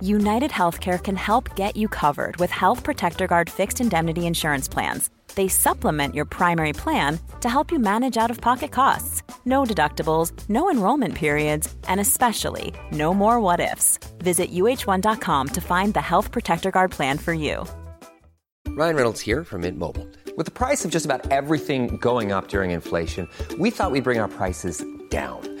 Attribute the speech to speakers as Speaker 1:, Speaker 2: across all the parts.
Speaker 1: United Healthcare can help get you covered with Health Protector Guard fixed indemnity insurance plans. They supplement your primary plan to help you manage out of pocket costs. No deductibles, no enrollment periods, and especially no more what ifs. Visit uh1.com to find the Health Protector Guard plan for you.
Speaker 2: Ryan Reynolds here from Mint Mobile. With the price of just about everything going up during inflation, we thought we'd bring our prices down.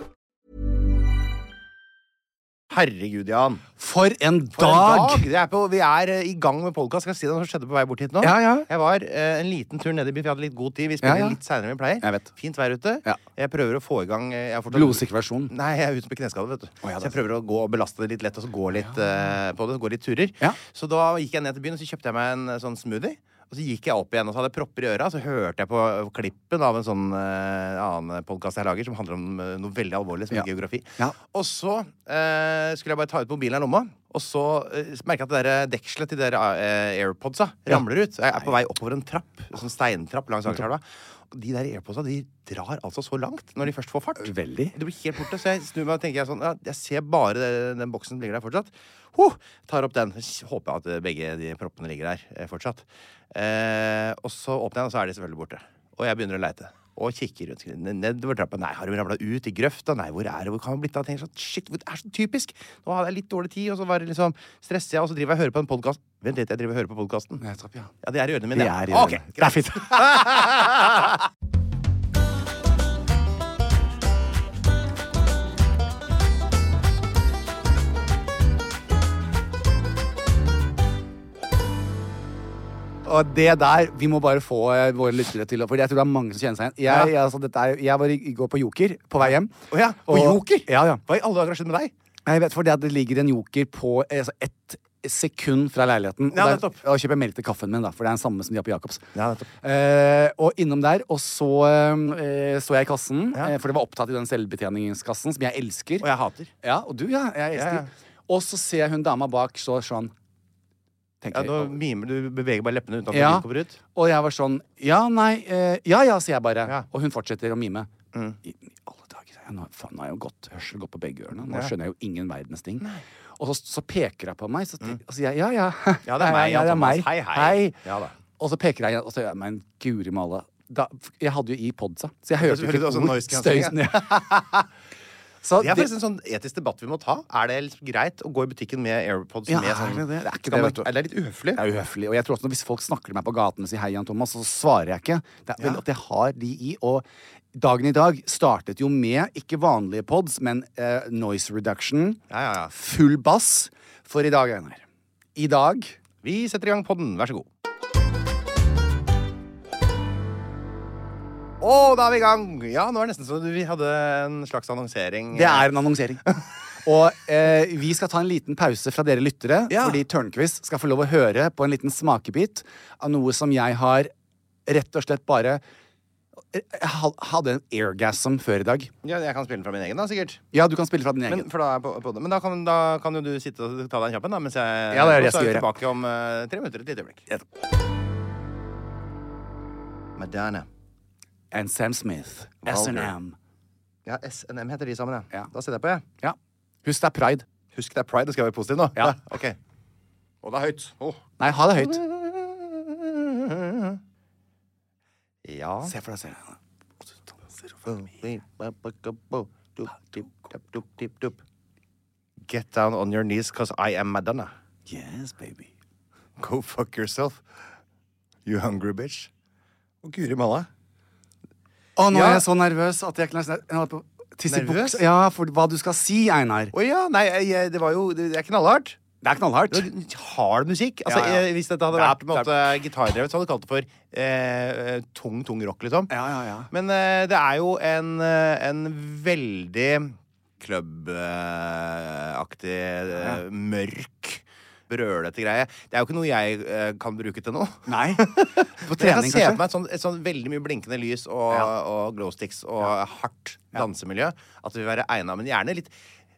Speaker 3: Herregud, Jan.
Speaker 4: For en
Speaker 3: For en
Speaker 4: dag!
Speaker 3: dag! Det er på, vi er eh, i gang med podkast. Skal jeg si deg hva som skjedde på vei bort hit nå?
Speaker 4: Ja, ja.
Speaker 3: Jeg var eh, en liten tur ned i byen, for jeg hadde litt god tid. Vi
Speaker 4: Ja,
Speaker 3: spiller
Speaker 4: ja.
Speaker 3: litt seinere enn vi pleier.
Speaker 4: Jeg vet.
Speaker 3: Fint vær ute.
Speaker 4: Ja.
Speaker 3: Jeg prøver å få i gang eh, jeg har fortsatt-
Speaker 4: Blodsikker versjon.
Speaker 3: Nei, jeg er ute med kneskade, vet du.
Speaker 4: ja,
Speaker 3: så jeg
Speaker 4: det er
Speaker 3: prøver å gå og belaste det litt lett, og så gå litt eh, på det. Gå litt turer.
Speaker 4: Ja.
Speaker 3: Så da gikk jeg ned til byen, og så kjøpte jeg meg en eh, sånn smoothie. Og så gikk jeg opp igjen, og så hadde jeg propper i øra, så hørte jeg på eh, klippen av en sånn eh, annen podkast jeg lager, som handler om eh, noe veldig alvorlig, som
Speaker 4: Ja.
Speaker 3: geografi.
Speaker 4: Ja.
Speaker 3: Og så eh, skulle jeg bare ta ut mobilen av lomma, og så eh, merka jeg at det der dekselet til de der, eh, AirPodsa ramler ut. Jeg er på vei oppover en trapp, en sånn steintrapp langs Akerselva. Og De der AirPodsa de drar altså så langt når de først får fart.
Speaker 4: Veldig.
Speaker 3: Det blir helt borte, så jeg snur meg og tenker jeg sånn ja, Jeg ser bare det- den boksen som ligger der fortsatt. Huh, tar opp den. Håper jeg at begge de proppene ligger der eh, fortsatt. Eh, og så åpner jeg den, og så er de selvfølgelig borte. Og jeg begynner å leite. Og kikker rundt ned- nedover trappa. Nei, har de ramla ut i grøfta? Nei, hvor er det? Hvor kan det ha blitt av? Tenker sånn, Shit, hvor- det er så typisk! Nå hadde jeg litt dårlig tid, og så var det liksom stresser jeg, og så driver jeg og hører på en podkast. Vent litt, jeg driver og hører på podkasten.
Speaker 4: Nettopp, ja.
Speaker 3: Ja, det er i ørene mine.
Speaker 4: Vi
Speaker 3: ja.
Speaker 4: er i ørene.
Speaker 3: Ok,
Speaker 4: Det er
Speaker 3: greit.
Speaker 4: fint. Og det der, Vi må bare få eh, våre lyttere til å- Fordi jeg tror det er mange som kjenner seg igjen. Jeg, altså, dette er, jeg var i i går på Joker på vei hjem.
Speaker 3: Å ja, på
Speaker 4: Og-
Speaker 3: Joker?
Speaker 4: Ja, ja.
Speaker 3: Hva i alle dager har skjedd med deg?
Speaker 4: Jeg vet, for det, at det ligger en joker på eh, altså ett sekund fra leiligheten.
Speaker 3: Ja,
Speaker 4: og der,
Speaker 3: nettopp.
Speaker 4: og da kjøper jeg melk til kaffen min, da, for det er den samme som de har på Jacobs.
Speaker 3: Ja, nettopp.
Speaker 4: Eh, og innom der, og så eh, så jeg i kassen,
Speaker 3: Ja.
Speaker 4: eh, for det var opptatt i den selvbetjeningskassen, som jeg elsker.
Speaker 3: Og jeg hater.
Speaker 4: Ja, og du, ja. Jeg elsker.
Speaker 3: Ja, ja.
Speaker 4: Og så ser jeg hun dama bak så, sånn
Speaker 3: Ja,
Speaker 4: tenker,
Speaker 3: nå mimer du, beveger bare leppene uten at
Speaker 4: Ja.
Speaker 3: lyden kommer ut.
Speaker 4: Og jeg var sånn Ja, nei. Eh, ja, ja, sier jeg bare.
Speaker 3: Ja. Mm.
Speaker 4: Og hun fortsetter å mime. I, i alle dager. sa jeg, Nå, faen, nå har jeg jo godt hørsel gått på begge ørene. Nå skjønner jeg jo ingen verdens ting. Og så, så peker hun på meg, så, og sier jeg ja, ja.
Speaker 3: Mm. Ja, det er meg, ja,
Speaker 4: det er
Speaker 3: Thomas.
Speaker 4: meg.
Speaker 3: Hei, hei. Ja da.
Speaker 4: Og så peker jeg, og så gjør jeg meg en guri malla. Da, jeg hadde jo i podsa, så jeg
Speaker 3: er
Speaker 4: hørte jo
Speaker 3: selvfølgelig
Speaker 4: ikke
Speaker 3: også
Speaker 4: et ord.
Speaker 3: noise cancelling,
Speaker 4: Støysen, ja. Så
Speaker 3: Det er
Speaker 4: det-
Speaker 3: faktisk en sånn etisk debatt vi må ta. Er det liksom greit å gå i butikken med AirPods?
Speaker 4: Ja,
Speaker 3: med sånn,
Speaker 4: er det det? Det er ikke
Speaker 3: Skal
Speaker 4: det,
Speaker 3: man-
Speaker 4: vet du.
Speaker 3: er det litt uhøflig?
Speaker 4: Det er uhøflig. Og jeg tror også at hvis folk snakker til meg på gaten og sier 'hei, Jan Thomas', så svarer jeg ikke. Det er vel
Speaker 3: Ja.
Speaker 4: at jeg har de i. Og dagen i dag startet jo med ikke vanlige pods, men eh, noise reduction.
Speaker 3: Ja, ja, ja.
Speaker 4: Full bass. For i dag, Einar I dag
Speaker 3: Vi setter i gang podden, vær så god. Å, da er vi i gang! Ja, nå er det nesten som vi hadde en slags annonsering.
Speaker 4: Det er en annonsering. Og eh, vi skal ta en liten pause fra dere lyttere,
Speaker 3: Ja.
Speaker 4: fordi Tørnquist skal få lov å høre på en liten smakebit av noe som jeg har rett og slett bare Jeg hadde en airgasm før i dag.
Speaker 3: Ja, jeg kan spille den fra min egen, da, sikkert.
Speaker 4: Ja, du kan spille fra din egen.
Speaker 3: Men, for da, er jeg på, på det. Men da, kan, da kan jo du sitte og ta deg en kjapp en, da, mens jeg
Speaker 4: Ja, det er
Speaker 3: Og
Speaker 4: det jeg
Speaker 3: så
Speaker 4: skal
Speaker 3: vi
Speaker 4: gjøre.
Speaker 3: tilbake om eh, tre minutter. Et lite øyeblikk. Madonna.
Speaker 4: and Sam Smith.
Speaker 3: Vulgar.
Speaker 4: S&M.
Speaker 3: Ja, SNM heter de sammen, ja.
Speaker 4: Ja.
Speaker 3: Da setter jeg på, jeg.
Speaker 4: Ja. Husk det er pride.
Speaker 3: Husk det er pride, det skal jeg være positiv nå.
Speaker 4: Ja.
Speaker 3: ok. Og det er høyt. Åh.
Speaker 4: Nei, ha det høyt.
Speaker 3: Ja
Speaker 4: Se for deg serien.
Speaker 3: Bo- bo- bo- bo- dup, dip, dup, dup, dip, dup. Get down on your knees, cause I am Madonna.
Speaker 5: Yes, baby.
Speaker 3: Go fuck yourself. You hungry bitch. Og guri malla.
Speaker 4: Å, nå
Speaker 3: Ja.
Speaker 4: er jeg så nervøs at jeg kan nesten jeg holder på å tisse i
Speaker 3: Nervøs?
Speaker 4: buksa. Ja, for hva du skal si, Einar.
Speaker 3: Å ja, nei, jeg- jeg, det var jo Det det er knallhardt.
Speaker 4: Det er knallhardt.
Speaker 3: Det var Hard musikk. Altså,
Speaker 4: Ja, ja.
Speaker 3: Jeg, hvis dette hadde
Speaker 4: Ja,
Speaker 3: vært på en måte gitardrevet, så hadde jeg kalt det for eh, eh, tung, tung rock, liksom.
Speaker 4: Ja, ja, ja.
Speaker 3: Men eh, det er jo en, eh, en veldig klubbaktig, eh, mørk, brølete greie. Det er jo ikke noe jeg eh, kan bruke til noe.
Speaker 4: Nei. sånn På
Speaker 3: Men jeg kan
Speaker 4: trening,
Speaker 3: se for
Speaker 4: kanskje.
Speaker 3: meg et sånn, et sånn veldig mye blinkende lys og,
Speaker 4: Ja.
Speaker 3: og glowsticks og hardt dansemiljø. At det vil være egna, men gjerne litt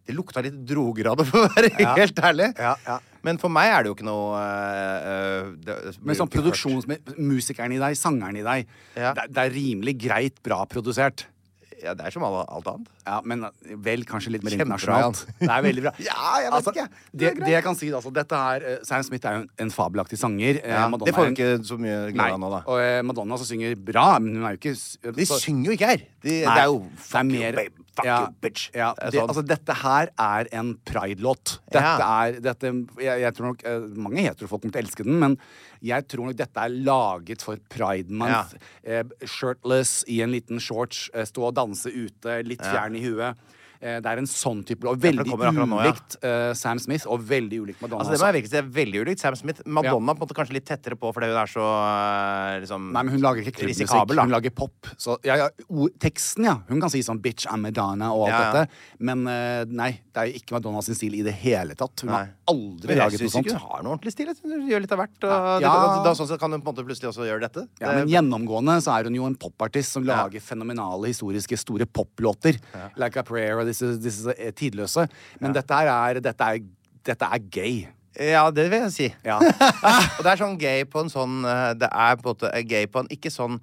Speaker 3: Det lukta litt droger av det, for å være helt ærlig.
Speaker 4: Ja, ja.
Speaker 3: Men for meg er det jo ikke noe eh, eh, det, det blir jo
Speaker 4: Men sånn
Speaker 3: ikke hørt.
Speaker 4: produksjonsmusikeren i deg, sangeren i deg,
Speaker 3: Ja.
Speaker 4: det, det er rimelig greit bra produsert.
Speaker 3: Ja, det er som alle- alt annet.
Speaker 4: Ja, men eh, vel kanskje litt mer
Speaker 3: Kjempebra,
Speaker 4: internasjonalt.
Speaker 3: Jan.
Speaker 4: Det er veldig bra.
Speaker 3: Ja, jeg vet
Speaker 4: altså,
Speaker 3: ikke.
Speaker 4: Det,
Speaker 3: Det
Speaker 4: det,
Speaker 3: er greit.
Speaker 4: jeg kan si, da, altså, dette er eh, Sam Smith er jo en, en fabelaktig sanger. Eh,
Speaker 3: Ja,
Speaker 4: Madonna
Speaker 3: det får vi
Speaker 4: er en-
Speaker 3: ikke så mye
Speaker 4: Nei.
Speaker 3: glede av nå, da.
Speaker 4: Og eh, Madonna som synger bra, men hun er jo ikke s-
Speaker 3: De
Speaker 4: så-
Speaker 3: synger jo ikke her. De, det
Speaker 4: Nei,
Speaker 3: er jo Fuck
Speaker 4: det er
Speaker 3: you,
Speaker 4: mer-
Speaker 3: babe. Fuck
Speaker 4: ja,
Speaker 3: you, bitch.
Speaker 4: Ja,
Speaker 3: Det er
Speaker 4: det,
Speaker 3: sånn.
Speaker 4: altså, dette her er en pride-låt. Dette
Speaker 3: Ja.
Speaker 4: er dette, jeg, jeg tror nok eh, Mange heterofolk kommer til å elske den, men jeg tror nok dette er laget for pride month. Eh, shirtless, i en liten shorts, eh, stå og danse ute, litt fjern i huet. Eh, det er en sånn type Og
Speaker 3: for det
Speaker 4: veldig
Speaker 3: kommer akkurat nå, ja.
Speaker 4: ulikt eh, Sam Smith, og veldig ulikt Madonna.
Speaker 3: Altså, det må jeg virkelig si, det er veldig ulikt Sam Smith. Madonna på en måte kanskje litt tettere på fordi hun er så eh, liksom
Speaker 4: Nei, men Hun lager ikke klubbmusikk,
Speaker 3: risikabel, da.
Speaker 4: hun lager pop. Så, ja, ja, o- teksten, ja. Hun kan si sånn 'bitch I'm Madonna' og alt
Speaker 3: Ja, ja.
Speaker 4: dette. Men eh, nei, det er jo ikke Madonna sin stil i det hele tatt. Hun har
Speaker 3: Nei.
Speaker 4: aldri
Speaker 3: Men jeg
Speaker 4: laget noe
Speaker 3: syns
Speaker 4: sånt.
Speaker 3: ikke hun har noe ordentlig stil. Jeg synes Hun gjør litt av hvert. Og
Speaker 4: Nei.
Speaker 3: det,
Speaker 4: Ja.
Speaker 3: da, da, sånn sett kan hun på en måte plutselig også gjøre dette.
Speaker 4: Ja, men gjennomgående så er hun jo en popartist som
Speaker 3: Ja.
Speaker 4: lager fenomenale historiske store poplåter. Like a Prayer og disse, disse eh, tidløse. Men dette her er Dette er, dette er gay.
Speaker 3: Eh, ja, det vil jeg si.
Speaker 4: Ja.
Speaker 3: og det er sånn gay på en sånn eh, Det er på en måte gay på en ikke sånn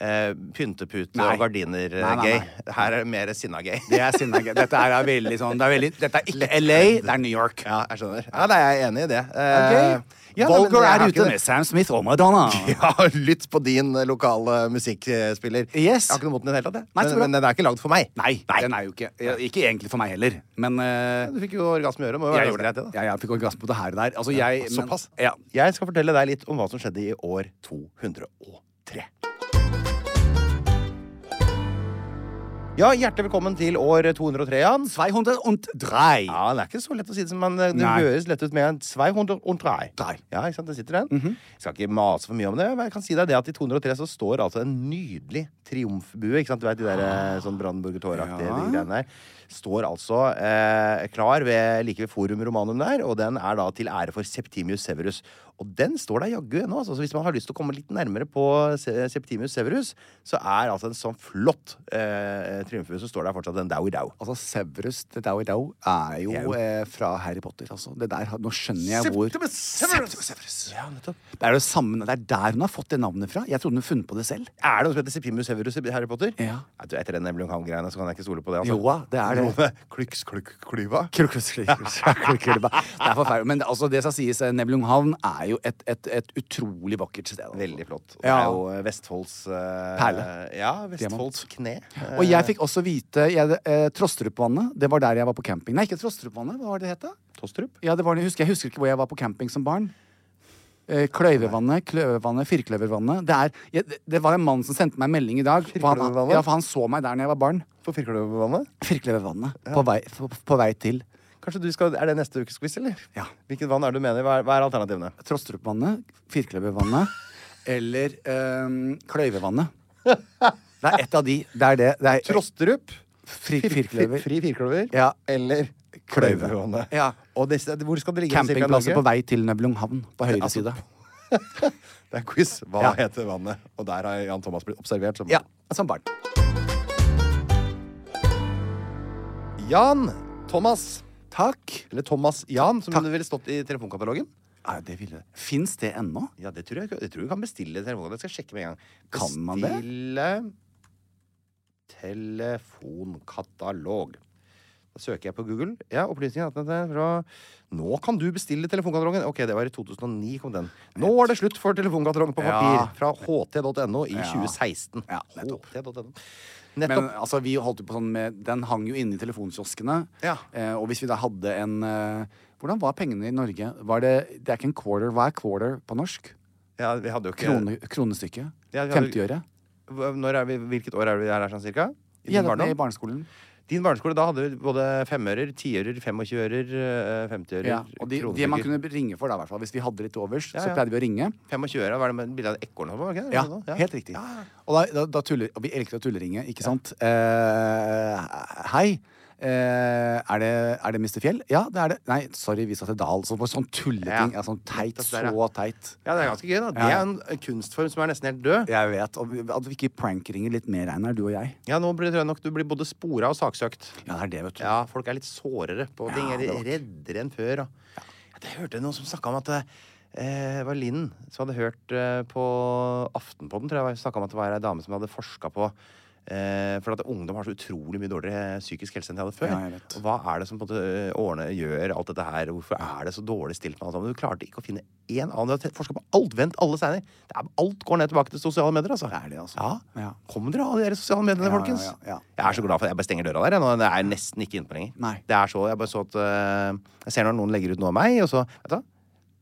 Speaker 3: eh, pyntepute
Speaker 4: Nei.
Speaker 3: og gardiner-gay.
Speaker 4: Nei, nei,
Speaker 3: Her er mer sinna-gay.
Speaker 4: Det er sinna gay. Dette her er veldig sånn det er veldig, Dette er ikke LA, det er New York.
Speaker 3: Ja, jeg skjønner. Ja, nei, jeg er enig i det.
Speaker 4: Eh, Volger er ute med Sam Smith og Madonna.
Speaker 3: Ja, lytt på din eh, lokale musikkspiller.
Speaker 4: Yes.
Speaker 3: Jeg har ikke noe mot den i det hele tatt, jeg.
Speaker 4: Nei, så
Speaker 3: men,
Speaker 4: bra.
Speaker 3: men den er ikke lagd for meg.
Speaker 4: Nei, den er jo ikke ja, Ikke egentlig for meg heller, men eh,
Speaker 3: Du fikk jo orgasme i øret. Må jo
Speaker 4: jeg,
Speaker 3: være
Speaker 4: gjorde
Speaker 3: greit,
Speaker 4: det.
Speaker 3: det, da.
Speaker 4: Ja, jeg fikk orgasme på det her og der. Altså, jeg, men,
Speaker 3: Såpass.
Speaker 4: Ja.
Speaker 3: Jeg skal fortelle deg litt om hva som skjedde i år 203. Ja, hjertelig velkommen til år 203, Jan.
Speaker 4: 203.
Speaker 3: Ja, det er ikke så lett å si det som man Det
Speaker 4: Nei.
Speaker 3: høres lett ut med en 203.
Speaker 4: Drei.
Speaker 3: Ja, ikke sant? Der sitter den. Jeg skal ikke mase for mye om det, men jeg kan si deg det at i 203 så står altså en nydelig triumfbue. Ikke sant? Du vet de der eh, sånn Brandenburger Tor-aktige de greiene der. Står altså eh, klar ved, like ved Forum Romanum der, og den er da til ære for Septimius Severus. Og den står der jaggu ennå, altså. Så hvis man har lyst til å komme litt nærmere på Se- Septimius Severus, så er altså en sånn flott eh, triumfbue som står der fortsatt, en Dowie Dow.
Speaker 4: Altså, Severus the Dowie Dow er jo eh, fra Harry Potter, altså. Det der, har- nå skjønner jeg hvor
Speaker 3: Septimus Severus!
Speaker 4: Septimus Severus.
Speaker 3: Ja, nettopp.
Speaker 4: Det er det samme Det er der hun har fått det navnet fra. Jeg trodde hun funnet på det selv.
Speaker 3: Er det noe som heter Septimus Severus i Harry Potter?
Speaker 4: Ja.
Speaker 3: Jeg tror Etter den Neblunkam-greiene så kan jeg ikke stole på det. altså.
Speaker 4: Jo da, det er det.
Speaker 3: Klyks, klukk, klyva.
Speaker 4: Krukkelklubba. Det er forferdelig. Men altså, det som sies, eh, Nebelunghavn er jo et, et, et utrolig vakkert sted. Altså.
Speaker 3: Veldig flott. Og Det
Speaker 4: Ja.
Speaker 3: er jo eh, Vestfolds eh,
Speaker 4: Perle.
Speaker 3: Ja, Vestfolds kne. Eh,
Speaker 4: Og jeg fikk også vite jeg, eh, Trosterupvannet. Det var der jeg var på camping. Nei, ikke Trosterupvannet. Hva var det det het? da?
Speaker 3: Tostrup.
Speaker 4: Ja, det var, jeg, husker, jeg husker ikke hvor jeg var på camping som barn. Eh, Kløyvevannet, Kløvevannet, Firkløvervannet. Det, er, jeg, det- det var en mann som sendte meg en melding i dag. For han,
Speaker 3: Firkløvervannet?
Speaker 4: ja, for han så meg der når jeg var barn.
Speaker 3: På Firkløvervannet.
Speaker 4: Firkløvervannet. På, vei, på, på vei til
Speaker 3: Kanskje du skal, Er det neste ukes quiz, eller?
Speaker 4: Ja.
Speaker 3: Hvilket vann er det du mener? Hva er, hva er alternativene?
Speaker 4: Trosterupvannet, Firkløvervannet eller eh, Kløyvevannet. Det er ett av de. Det er det. det er,
Speaker 3: Trostrup.
Speaker 4: Fri-
Speaker 3: fir-
Speaker 4: firkløver.
Speaker 3: Fri firkløver.
Speaker 4: Ja.
Speaker 3: Eller
Speaker 4: Kløyve.
Speaker 3: Kløvervannet.
Speaker 4: Ja.
Speaker 3: Og det, hvor skal det ligge? cirka i
Speaker 4: Campingplasser
Speaker 3: Norge? Altså,
Speaker 4: på vei til Nøblunghavn på høyre side.
Speaker 3: Det er quiz. Hva
Speaker 4: Ja.
Speaker 3: heter vannet? Og der har Jan Thomas blitt observert. Som
Speaker 4: Ja, som barn.
Speaker 3: Jan Thomas.
Speaker 4: Takk.
Speaker 3: Eller Thomas Jan, som
Speaker 4: Takk.
Speaker 3: det ville stått i telefonkatalogen.
Speaker 4: Ja, det ville Fins det ennå?
Speaker 3: Ja, det tror jeg, jeg tror du kan bestille telefonkatalogen. Jeg skal sjekke med en gang.
Speaker 4: Kan man det?
Speaker 3: Bestille telefonkatalog. Da søker jeg på Google. Ja, opplysningen at den er fra Nå kan du bestille telefonkatalongen! Ok, det var i 2009 kom den. Nå er det slutt for telefonkatalong på papir!
Speaker 4: Ja.
Speaker 3: Fra ht.no i 2016.
Speaker 4: Ja, nettopp.
Speaker 3: ht.no.
Speaker 4: Men
Speaker 3: Nettopp.
Speaker 4: altså, vi holdt jo på sånn med Den hang jo inne i telefonkioskene.
Speaker 3: Ja.
Speaker 4: Eh, og hvis vi da hadde en eh, Hvordan var pengene i Norge? Var det, det er ikke en quarter. Hva er quarter på norsk?
Speaker 3: ja, vi hadde jo ikke
Speaker 4: Krone, kronestykke?
Speaker 3: Ja, vi hadde-
Speaker 4: 50-øre?
Speaker 3: Hva- Når er vi, hvilket år er vi her, er sånn cirka? I
Speaker 4: Ja,
Speaker 3: din
Speaker 4: det-
Speaker 3: barndom?
Speaker 4: I barneskolen.
Speaker 3: Din barneskole, da hadde vi både femører, tiører, 25-ører, eh, 50-ører,
Speaker 4: Ja, og de, de man
Speaker 3: kronestykker.
Speaker 4: kunne ringe for, da, i hvert fall. Hvis vi hadde litt overs,
Speaker 3: Ja,
Speaker 4: så
Speaker 3: ja.
Speaker 4: pleide vi å ringe.
Speaker 3: 25-øra, var det med bilde av et ekorn? var det ikke det?
Speaker 4: Ja,
Speaker 3: Sånn,
Speaker 4: helt riktig. Og, da, da, da tuller, og vi elsket å tulleringe, ikke sant? Eh, hei. Eh, er, det, er det Mr. Fjell? Ja, det er det. Nei, sorry, vi skal til Dal. Så på sånn tulleting.
Speaker 3: Ja.
Speaker 4: Ja. Sånn teit,
Speaker 3: Nettopp der, ja.
Speaker 4: så teit.
Speaker 3: Ja, det er ganske gøy, da. Det
Speaker 4: Ja.
Speaker 3: er en kunstform som er nesten helt død.
Speaker 4: Jeg vet. Og vi- at vi ikke prankringer litt mer, Einar, du og jeg.
Speaker 3: Ja, nå blir, tror jeg nok du blir både spora og saksøkt.
Speaker 4: Ja, det er det, vet du.
Speaker 3: Ja, folk er litt sårere på ting.
Speaker 4: Ja,
Speaker 3: er
Speaker 4: det var-
Speaker 3: reddere enn før. Og. Ja, det hørte jeg noen som snakka om at det eh, var Linn som hadde hørt eh, på Aftenpodden, tror jeg, snakka om at det var ei dame som hadde forska på eh, For at ungdom har så utrolig mye dårligere eh, psykisk helse enn de hadde før.
Speaker 4: Ja, jeg vet.
Speaker 3: og hva er det som på en måte eh, årene gjør alt dette her? Hvorfor er det så dårlig stilt med alt sammen? Du klarte ikke å finne én annen. Du har forska på alt. Vent alle steiner. Det er, alt går ned tilbake til sosiale medier, altså.
Speaker 4: Det er det, altså.
Speaker 3: Ja.
Speaker 4: Ja.
Speaker 3: Kom dere av de der sosiale mediene,
Speaker 4: Ja, ja,
Speaker 3: folkens.
Speaker 4: ja, ja.
Speaker 3: Jeg er så glad for at jeg bare stenger døra der. Jeg, nå. Det er nesten ikke inne på lenger.
Speaker 4: Nei.
Speaker 3: Det er så, jeg bare så at øh, Jeg ser når noen legger ut noe av meg, og så vet du, hva?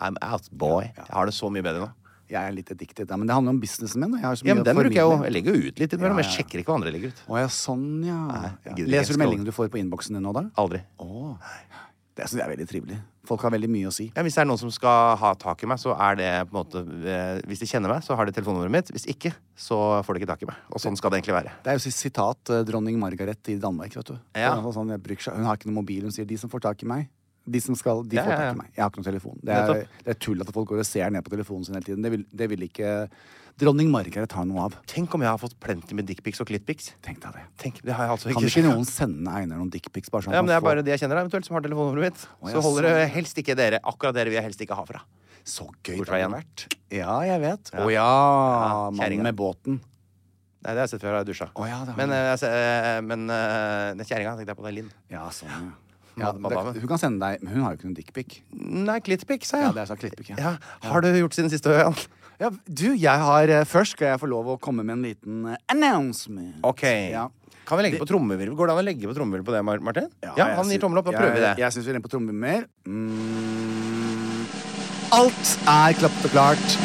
Speaker 3: I'm out, boy. Jeg har det så mye bedre nå.
Speaker 4: Jeg er litt addicted. Ja, men det handler om businessmenn. og Jeg har så mye
Speaker 3: Ja, men
Speaker 4: å
Speaker 3: den bruker jeg jo.
Speaker 4: formidle.
Speaker 3: Jeg legger jo ut litt innimellom.
Speaker 4: Ja,
Speaker 3: Jeg
Speaker 4: ja.
Speaker 3: sjekker ikke hva andre legger ut.
Speaker 4: Å ja, sånn, ja.
Speaker 3: jeg
Speaker 4: ja.
Speaker 3: gidder ikke, jeg
Speaker 4: Leser du
Speaker 3: skal-
Speaker 4: meldingene du får på innboksen din nå, da?
Speaker 3: Aldri.
Speaker 4: Å. Det syns jeg er veldig trivelig. Folk har veldig mye å si.
Speaker 3: Ja, hvis det er noen som skal ha tak i meg, så er det på en måte øh, Hvis de kjenner meg, så har de telefonnummeret mitt. Hvis ikke, så får de ikke tak i meg. Og sånn skal det egentlig være.
Speaker 4: Det er jo si- sitat eh, dronning Margaret i Danmark, vet du.
Speaker 3: Ja.
Speaker 4: Hun, sånn, jeg bryr seg- hun har ikke noe mobil. Hun sier 'de som får tak i meg'. De som skal, de
Speaker 3: Ja,
Speaker 4: får
Speaker 3: ja,
Speaker 4: tak
Speaker 3: ja.
Speaker 4: i meg. Jeg har ikke noen telefon. Det er,
Speaker 3: Nettopp.
Speaker 4: det er tull at folk går og ser ned på telefonen sin hele tiden. Det vil, det vil ikke dronning Margaret ha noe av.
Speaker 3: Tenk om jeg har fått plenty med dickpics og clitpics.
Speaker 4: Tenk deg det.
Speaker 3: Tenk, det har jeg altså ikke.
Speaker 4: Kan ikke noen sende Einar noen dickpics? Bare sånn
Speaker 3: Ja,
Speaker 4: at
Speaker 3: men Det
Speaker 4: han
Speaker 3: er bare
Speaker 4: får-
Speaker 3: de jeg kjenner da, eventuelt som har telefonnummeret mitt.
Speaker 4: ja,
Speaker 3: Så holder det
Speaker 4: sånn.
Speaker 3: helst ikke dere. Akkurat dere vil jeg helst ikke ha fra.
Speaker 4: Så gøy
Speaker 3: Hvor
Speaker 4: det
Speaker 3: tror jeg
Speaker 4: hadde
Speaker 3: han-
Speaker 4: vært. Ja, jeg vet. Å ja,
Speaker 3: Ja, kjerringa.
Speaker 4: mannen med båten.
Speaker 3: Nei, det har jeg sett før. Jeg har dusja.
Speaker 4: Å ja, det har
Speaker 3: men
Speaker 4: du.
Speaker 3: eh, jeg se- eh, men eh, den kjerringa tenkte jeg på. Det er Linn.
Speaker 4: Ja, sånn, ja.
Speaker 3: Ja,
Speaker 4: ja
Speaker 3: eh, madame.
Speaker 4: det, hun kan sende deg, men hun har jo ikke noen dickpic.
Speaker 3: Nei, Klitpik, sa jeg.
Speaker 4: Ja, det er sånn klittpikk, ja.
Speaker 3: Ja. Har du gjort siden siste, Jan?
Speaker 4: Ja, du, jeg har eh, Først skal jeg få lov å komme med en liten eh, announcement.
Speaker 3: OK.
Speaker 4: Ja.
Speaker 3: Kan vi legge på trommevirvel? Går det an å legge på trommevirvel på det, Mar- Martin? Ja,
Speaker 4: jeg
Speaker 3: han
Speaker 4: sy-
Speaker 3: gir tommel opp. Da prøver vi det.
Speaker 4: Jeg, jeg syns vi legger på trommer. Mm. Alt er klappet og klart.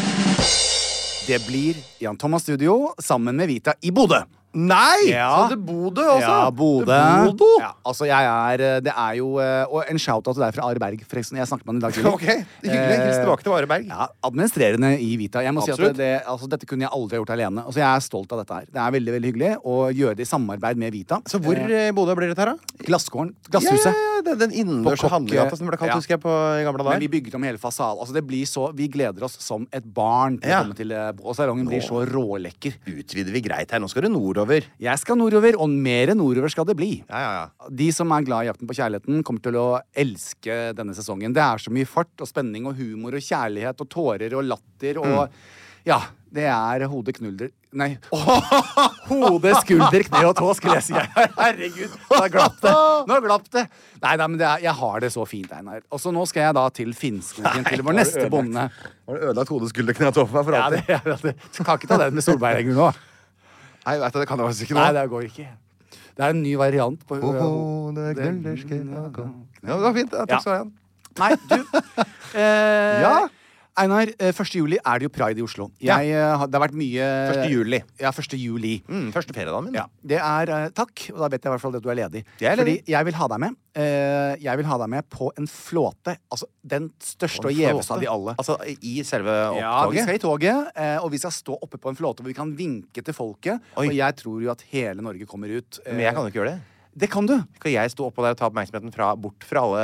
Speaker 4: Det blir Jan Thomas Studio sammen med Vita i Bodø.
Speaker 3: Nei!
Speaker 4: Ja.
Speaker 3: Så det Bodø også?
Speaker 4: Ja, Bodø.
Speaker 3: Det Bodø?
Speaker 4: Ja, altså, jeg er eh, Det er jo eh, Og en shout-out til deg fra Are Berg, forresten. Jeg snakket med han i dag tidlig.
Speaker 3: Ok, hyggelig. Hils
Speaker 4: Eh,
Speaker 3: tilbake til Are Berg.
Speaker 4: Ja, administrerende i Vita. Jeg må si
Speaker 3: Absolutt.
Speaker 4: at det, altså, Dette kunne jeg aldri ha gjort alene. Altså, jeg er stolt av dette her. Det er veldig veldig hyggelig å gjøre det i samarbeid med Vita.
Speaker 3: Så hvor
Speaker 4: Eh,
Speaker 3: i Bodø blir dette her, da?
Speaker 4: Glassgården. Glasshuset.
Speaker 3: Ja, ja, ja, det er Den innendørs
Speaker 4: På Kokke-
Speaker 3: handlegata som det ble kalt,
Speaker 4: Ja.
Speaker 3: husker jeg, på i gamle
Speaker 4: Men
Speaker 3: dager.
Speaker 4: vi bygget om hele fasalen. Altså, det blir så, vi gleder oss som et barn. til
Speaker 3: Ja.
Speaker 4: å komme til, eh, Og salongen blir så rålekker.
Speaker 3: utvider vi greit her. Nå skal det nordover.
Speaker 4: Jeg skal nordover, og mer nordover skal det bli.
Speaker 3: Ja, ja, ja.
Speaker 4: De som er glad i Jakten på kjærligheten, kommer til å elske denne sesongen. Det er så mye fart og spenning og humor og kjærlighet og tårer og latter og Ja. Det er hode, knulder Nei. Hode, skulder, kne og tå, skulle jeg si. Herregud, da glapp det. Nå glapp det. Nei, nei, men det er, jeg har det så fint, Einar. Og så nå skal jeg da til Finnskogen, til vår neste bonde.
Speaker 3: Har du ødelagt hodet, skulder, kne og tå for meg for
Speaker 4: Ja, det,
Speaker 3: alltid?
Speaker 4: ja, det. Kan ikke ta den med Solberg-regelen nå.
Speaker 3: Nei, vet du, det kan jeg faktisk ikke nå.
Speaker 4: Nei, det går ikke. Det er en ny variant på
Speaker 3: Hode, knuller, skulder, og tå. Ja, det var fint. Ja, takk skal du ha. Jan.
Speaker 4: Nei, du eh,
Speaker 3: Ja?
Speaker 4: Einar, eh, 1. juli er det jo pride i Oslo.
Speaker 3: Ja.
Speaker 4: Jeg, eh, har- Det har vært mye
Speaker 3: 1. juli.
Speaker 4: Ja, 1. juli.
Speaker 3: Mm, første feriedagen min.
Speaker 4: Ja, det er eh, Takk, og da vet jeg i hvert fall at du er ledig.
Speaker 3: Jeg er ledig.
Speaker 4: Fordi jeg vil ha deg med. Eh, jeg vil ha deg med på en flåte. Altså den største og gjeveste av de alle.
Speaker 3: Altså, i selve
Speaker 4: Ja, vi
Speaker 3: opptoget?
Speaker 4: skal i toget, eh, og vi skal stå oppe på en flåte hvor vi kan vinke til folket.
Speaker 3: Oi.
Speaker 4: Og jeg tror jo at hele Norge kommer ut. eh,
Speaker 3: Men jeg kan jo ikke gjøre det.
Speaker 4: Det kan du.
Speaker 3: Skal jeg stå oppå der og ta oppmerksomheten fra, bort fra alle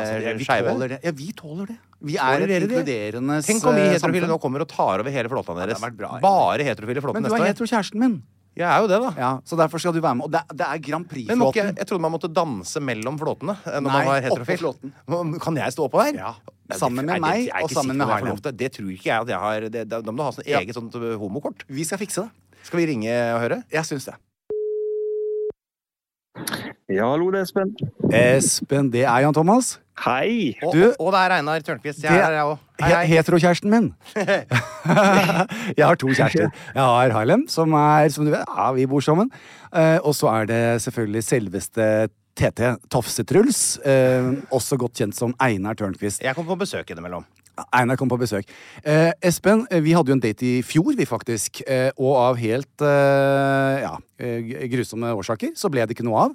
Speaker 4: Altså,
Speaker 3: med
Speaker 4: vi
Speaker 3: skeive?
Speaker 4: tåler det. Ja, vi tåler det. Vi er et
Speaker 3: Tolererer de?
Speaker 4: inkluderende
Speaker 3: Tenk om vi
Speaker 4: eh,
Speaker 3: heterofile
Speaker 4: samfunn.
Speaker 3: nå kommer og tar over hele flåta deres.
Speaker 4: hadde vært bra, egentlig.
Speaker 3: Bare heterofile flåte
Speaker 4: Men du
Speaker 3: neste
Speaker 4: er
Speaker 3: år.
Speaker 4: hetero kjæresten min.
Speaker 3: Jeg er jo det, da.
Speaker 4: Ja, så derfor skal du være med. Og det, det er
Speaker 3: Men må
Speaker 4: Grand
Speaker 3: ikke, jeg,
Speaker 4: Prix-flåten.
Speaker 3: jeg trodde man måtte danse mellom flåtene eh, når
Speaker 4: Nei,
Speaker 3: man var
Speaker 4: oppå
Speaker 3: heterofil.
Speaker 4: flåten.
Speaker 3: Må- Kan jeg stå oppå der?
Speaker 4: Ja.
Speaker 3: Nei, det-
Speaker 4: Sammen med
Speaker 3: nei, det-
Speaker 4: meg,
Speaker 3: jeg er
Speaker 4: og
Speaker 3: ikke sikker
Speaker 4: sammen med
Speaker 3: på om jeg får
Speaker 4: Harlem.
Speaker 3: lov til det. Det tror ikke jeg at jeg har. Det, da da må du ha sånn
Speaker 4: Ja.
Speaker 3: eget sånt eh, homokort.
Speaker 4: Vi skal fikse det.
Speaker 3: Skal vi ringe og høre?
Speaker 4: Jeg syns det.
Speaker 5: Ja, hallo, det er Espen.
Speaker 4: Espen, det er Jan Thomas.
Speaker 5: Hei!
Speaker 3: Og,
Speaker 4: Du-
Speaker 3: og det er Reinar Tørnquist. Jeg
Speaker 4: Det-
Speaker 3: er her, jeg òg. Hei,
Speaker 4: He-
Speaker 3: hei.
Speaker 4: Heterokjæresten min. jeg har to kjærester. Jeg har Harlem, som er, som du vet, ja, vi bor sammen. Eh, og så er det selvfølgelig selveste TT, Tafse-Truls. Eh, også godt kjent som Einar Tørnquist.
Speaker 3: Jeg kommer på besøk innimellom.
Speaker 4: Einar kom på besøk. Eh, Espen, eh, vi hadde jo en date i fjor, vi faktisk. Eh, og av helt eh, ja, eh, grusomme årsaker så ble det ikke noe av.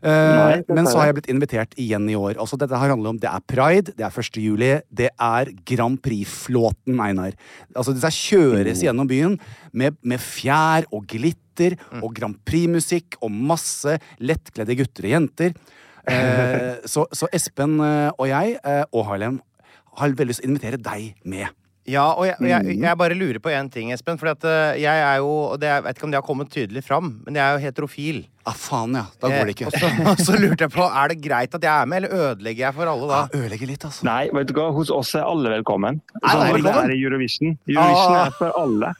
Speaker 4: Eh,
Speaker 5: Nei, det
Speaker 4: men
Speaker 5: ser
Speaker 4: så har jeg
Speaker 5: jeg.
Speaker 4: blitt invitert igjen i år. Altså, dette her handler om Det er pride, det er 1. juli, det er Grand Prix-flåten, Einar. Altså, dette kjøres gjennom byen med, med fjær og glitter
Speaker 3: Mm.
Speaker 4: og Grand Prix-musikk og masse lettkledde gutter og jenter. Eh, så, så Espen eh, og jeg, eh, og Harlem, har veldig lyst til å invitere deg med.
Speaker 3: Ja, og jeg, og jeg,
Speaker 4: Mm.
Speaker 3: jeg bare lurer på én ting, Espen. For at eh, jeg er jo og det, Jeg vet ikke om det har kommet tydelig fram, men jeg er jo heterofil.
Speaker 4: Ah, faen, ja. Da går
Speaker 3: Eh,
Speaker 4: det ikke.
Speaker 3: Og så, og så lurte jeg på, er det greit at jeg er med, eller ødelegger jeg for alle da?
Speaker 4: Ja, ødelegger litt, altså.
Speaker 5: Nei, vet du hva? Hos oss er alle velkommen.
Speaker 4: alle
Speaker 5: Sånn
Speaker 4: velkommen?
Speaker 5: er det i Eurovision. Eurovision er for alle.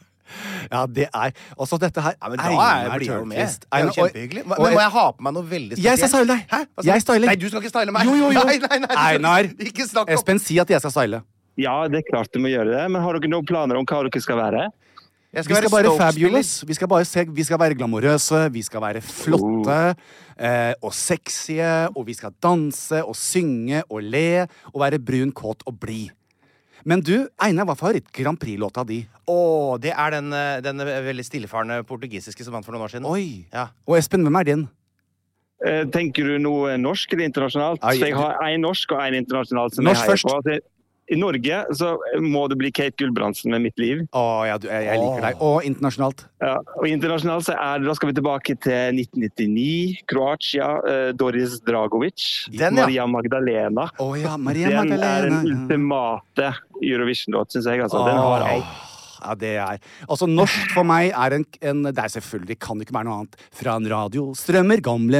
Speaker 4: Ja, det er Altså, dette her
Speaker 3: Ja, men da er jeg blir jeg jo med. Det er jo kjempehyggelig. Men men må jeg ha på meg noe veldig
Speaker 4: Jeg skal style deg.
Speaker 3: Hæ? Hva
Speaker 4: Jeg styler.
Speaker 3: Nei, du skal ikke style meg.
Speaker 4: Jo, jo, jo.
Speaker 3: Nei, nei, nei, du skal-
Speaker 4: Einar.
Speaker 3: Ikke snakk om
Speaker 4: Espen, si at jeg skal style.
Speaker 5: Ja, det er klart du må gjøre det, men har dere noen planer om hva dere skal være?
Speaker 3: Jeg
Speaker 4: Vi skal
Speaker 3: være
Speaker 4: være
Speaker 3: Stoke-spiller.
Speaker 4: fabulous. Vi skal, bare se, vi skal være glamorøse, vi skal være flotte eh, og sexy, og vi skal danse og synge og le og være brun, kåt og blid. Men du, Einar, hva er favoritt Grand Prix-låta di?
Speaker 3: Å, det er den, eh, den veldig stillefarende portugisiske som vant for noen år siden.
Speaker 4: Oi!
Speaker 3: Ja.
Speaker 4: Og Espen, hvem er din?
Speaker 5: Eh, Tenker du noe norsk eller internasjonalt?
Speaker 4: Ai,
Speaker 5: Så jeg har én norsk og én internasjonal som
Speaker 4: Norsk
Speaker 5: jeg heier
Speaker 4: først.
Speaker 5: på. Altså, I Norge så må det bli Kate Gulbrandsen med mitt liv.
Speaker 4: Å, ja, du, jeg, jeg liker deg. Og internasjonalt.
Speaker 5: Ja, og internasjonalt så er det, da skal vi tilbake til 1999, Kroatia, eh, Doris Dragovic,
Speaker 3: Den, ja.
Speaker 5: Maria Magdalena.
Speaker 4: Å ja, Maria
Speaker 5: Den er
Speaker 4: Magdalena.
Speaker 5: den ultimate Eurovision-låt, syns jeg. Altså. Den har
Speaker 4: Åh,
Speaker 5: alt.
Speaker 4: Ja, det er Altså, norsk for meg er en, en Det er selvfølgelig, kan det ikke være noe annet. Fra en radio strømmer gamle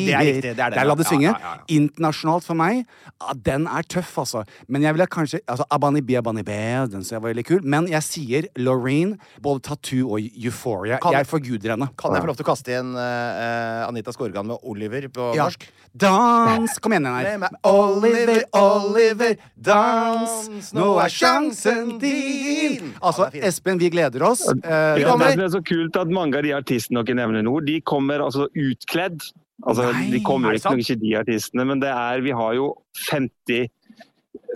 Speaker 3: Ja, det er riktig, det er det.
Speaker 4: Der la det
Speaker 3: Ja,
Speaker 4: synge.
Speaker 3: ja, ja, ja.
Speaker 4: Internasjonalt for meg, ja, den er tøff, altså. Men jeg ville kanskje altså, Abanibi Abanibe, den syns jeg var veldig kul. Men jeg sier Loreen, både Tattoo og Euphoria.
Speaker 3: Kan-
Speaker 4: jeg forguder henne.
Speaker 3: Kan jeg få lov til å kaste igjen eh, eh, Anita Skorgan med Oliver på
Speaker 4: Ja.
Speaker 3: norsk?
Speaker 4: Dans! Kom igjen,
Speaker 3: Hvem
Speaker 4: Einar.
Speaker 3: er Oliver, Oliver, dans? Nå er sjansen din.
Speaker 4: Altså,
Speaker 3: Ja, det er fint.
Speaker 4: Espen, vi gleder oss.
Speaker 5: Det
Speaker 4: Eh,
Speaker 5: er
Speaker 3: kommer-
Speaker 5: det som er så kult at mange av de artistene dere nevner nå, de kommer altså utkledd. Altså,
Speaker 4: Nei,
Speaker 5: de
Speaker 4: er
Speaker 5: kommer
Speaker 4: det
Speaker 5: ikke, nok ikke de artistene, men det er, vi har jo 50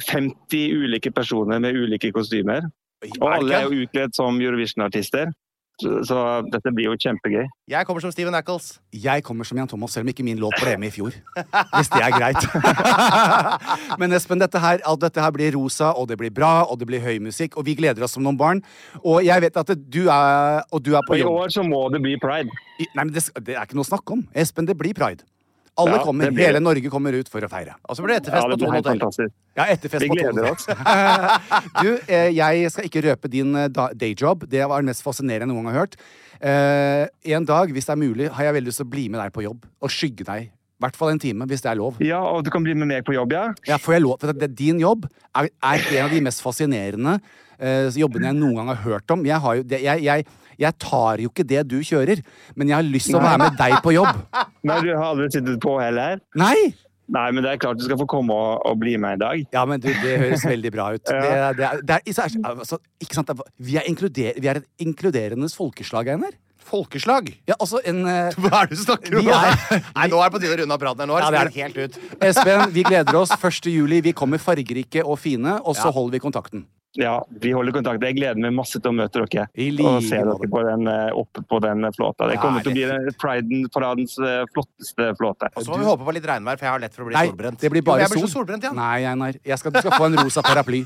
Speaker 5: 50 ulike personer med ulike kostymer.
Speaker 3: Er
Speaker 5: Og
Speaker 3: det
Speaker 5: alle
Speaker 3: ikke?
Speaker 5: er jo utkledd som Eurovision-artister. Så, så dette blir jo kjempegøy.
Speaker 3: Jeg kommer som Steven Ackles.
Speaker 4: Jeg kommer som Jan Thomas, selv om ikke min låt ble med i fjor. Hvis det er greit. Men Espen, dette her, alt dette her blir rosa, og det blir bra, og det blir høy musikk, og vi gleder oss som noen barn. Og jeg vet at det, du er Og du er på
Speaker 5: Og i
Speaker 4: jobb.
Speaker 5: år så må det bli pride.
Speaker 4: I- Nei, men det, sk- det er ikke noe å snakke om. Espen, det blir pride. Alle
Speaker 5: Ja,
Speaker 4: kommer,
Speaker 5: det blir det.
Speaker 4: Hele Norge kommer ut for å feire.
Speaker 3: Og så blir det
Speaker 5: Ja,
Speaker 3: etterfest
Speaker 5: det
Speaker 3: på
Speaker 5: blir
Speaker 3: Tone
Speaker 5: helt
Speaker 3: Hotel.
Speaker 5: fantastisk.
Speaker 4: Ja, etterfest
Speaker 5: Vi
Speaker 4: på
Speaker 5: gleder
Speaker 4: Tone.
Speaker 5: oss.
Speaker 4: du, eh, jeg skal ikke røpe din eh, da- dayjob. Det var det mest fascinerende jeg noen gang har hørt. Eh, en dag, hvis det er mulig, har jeg veldig lyst til å bli med deg på jobb. Og skygge deg. I hvert fall en time, hvis det er lov.
Speaker 5: Ja, og du kan bli med meg på jobb, ja.
Speaker 4: Ja, får jeg lov for det, Din jobb er, er en av de mest fascinerende eh, jobbene jeg noen gang har hørt om. Jeg, har jo, det, jeg, jeg, jeg tar jo ikke det du kjører, men jeg har lyst til å være med deg på jobb.
Speaker 5: Men du har aldri sittet på heller?
Speaker 4: Nei!
Speaker 5: Nei, men det er klart du skal få komme og, og bli med i dag.
Speaker 4: Ja, men du, det høres veldig bra ut. Det, det er, det er, i sær- altså, ikke sant? det er- Vi er, inkluder, vi er et inkluderende folkeslag, Einar.
Speaker 3: Folkeslag?
Speaker 4: Ja, altså en eh,
Speaker 3: Hva er det du snakker om?
Speaker 4: Vi er-
Speaker 3: Nei, nå er det på tide å runde av praten her. Nå
Speaker 4: Ja,
Speaker 3: har
Speaker 4: det
Speaker 3: det
Speaker 4: er
Speaker 3: sklidd helt ut.
Speaker 4: Espen, vi gleder oss. 1. juli. Vi kommer fargerike og fine, og så
Speaker 3: Ja.
Speaker 4: holder vi kontakten.
Speaker 5: Ja, vi holder kontakt. Jeg gleder meg masse til å møte dere.
Speaker 4: I like
Speaker 5: og se
Speaker 4: måte.
Speaker 5: dere på den, eh, oppe på den eh, flåta. Det kommer til å bli den- priden, paradens eh, flotteste flåte.
Speaker 3: Og så må vi håpe på litt regnvær, for jeg har lett for å bli
Speaker 4: Nei,
Speaker 3: solbrent.
Speaker 4: det blir
Speaker 3: Jo,
Speaker 4: bare
Speaker 3: jeg blir
Speaker 4: sol.
Speaker 3: så solbrent, ja.
Speaker 4: Nei, Einar. Jeg skal, du skal få en rosa paraply.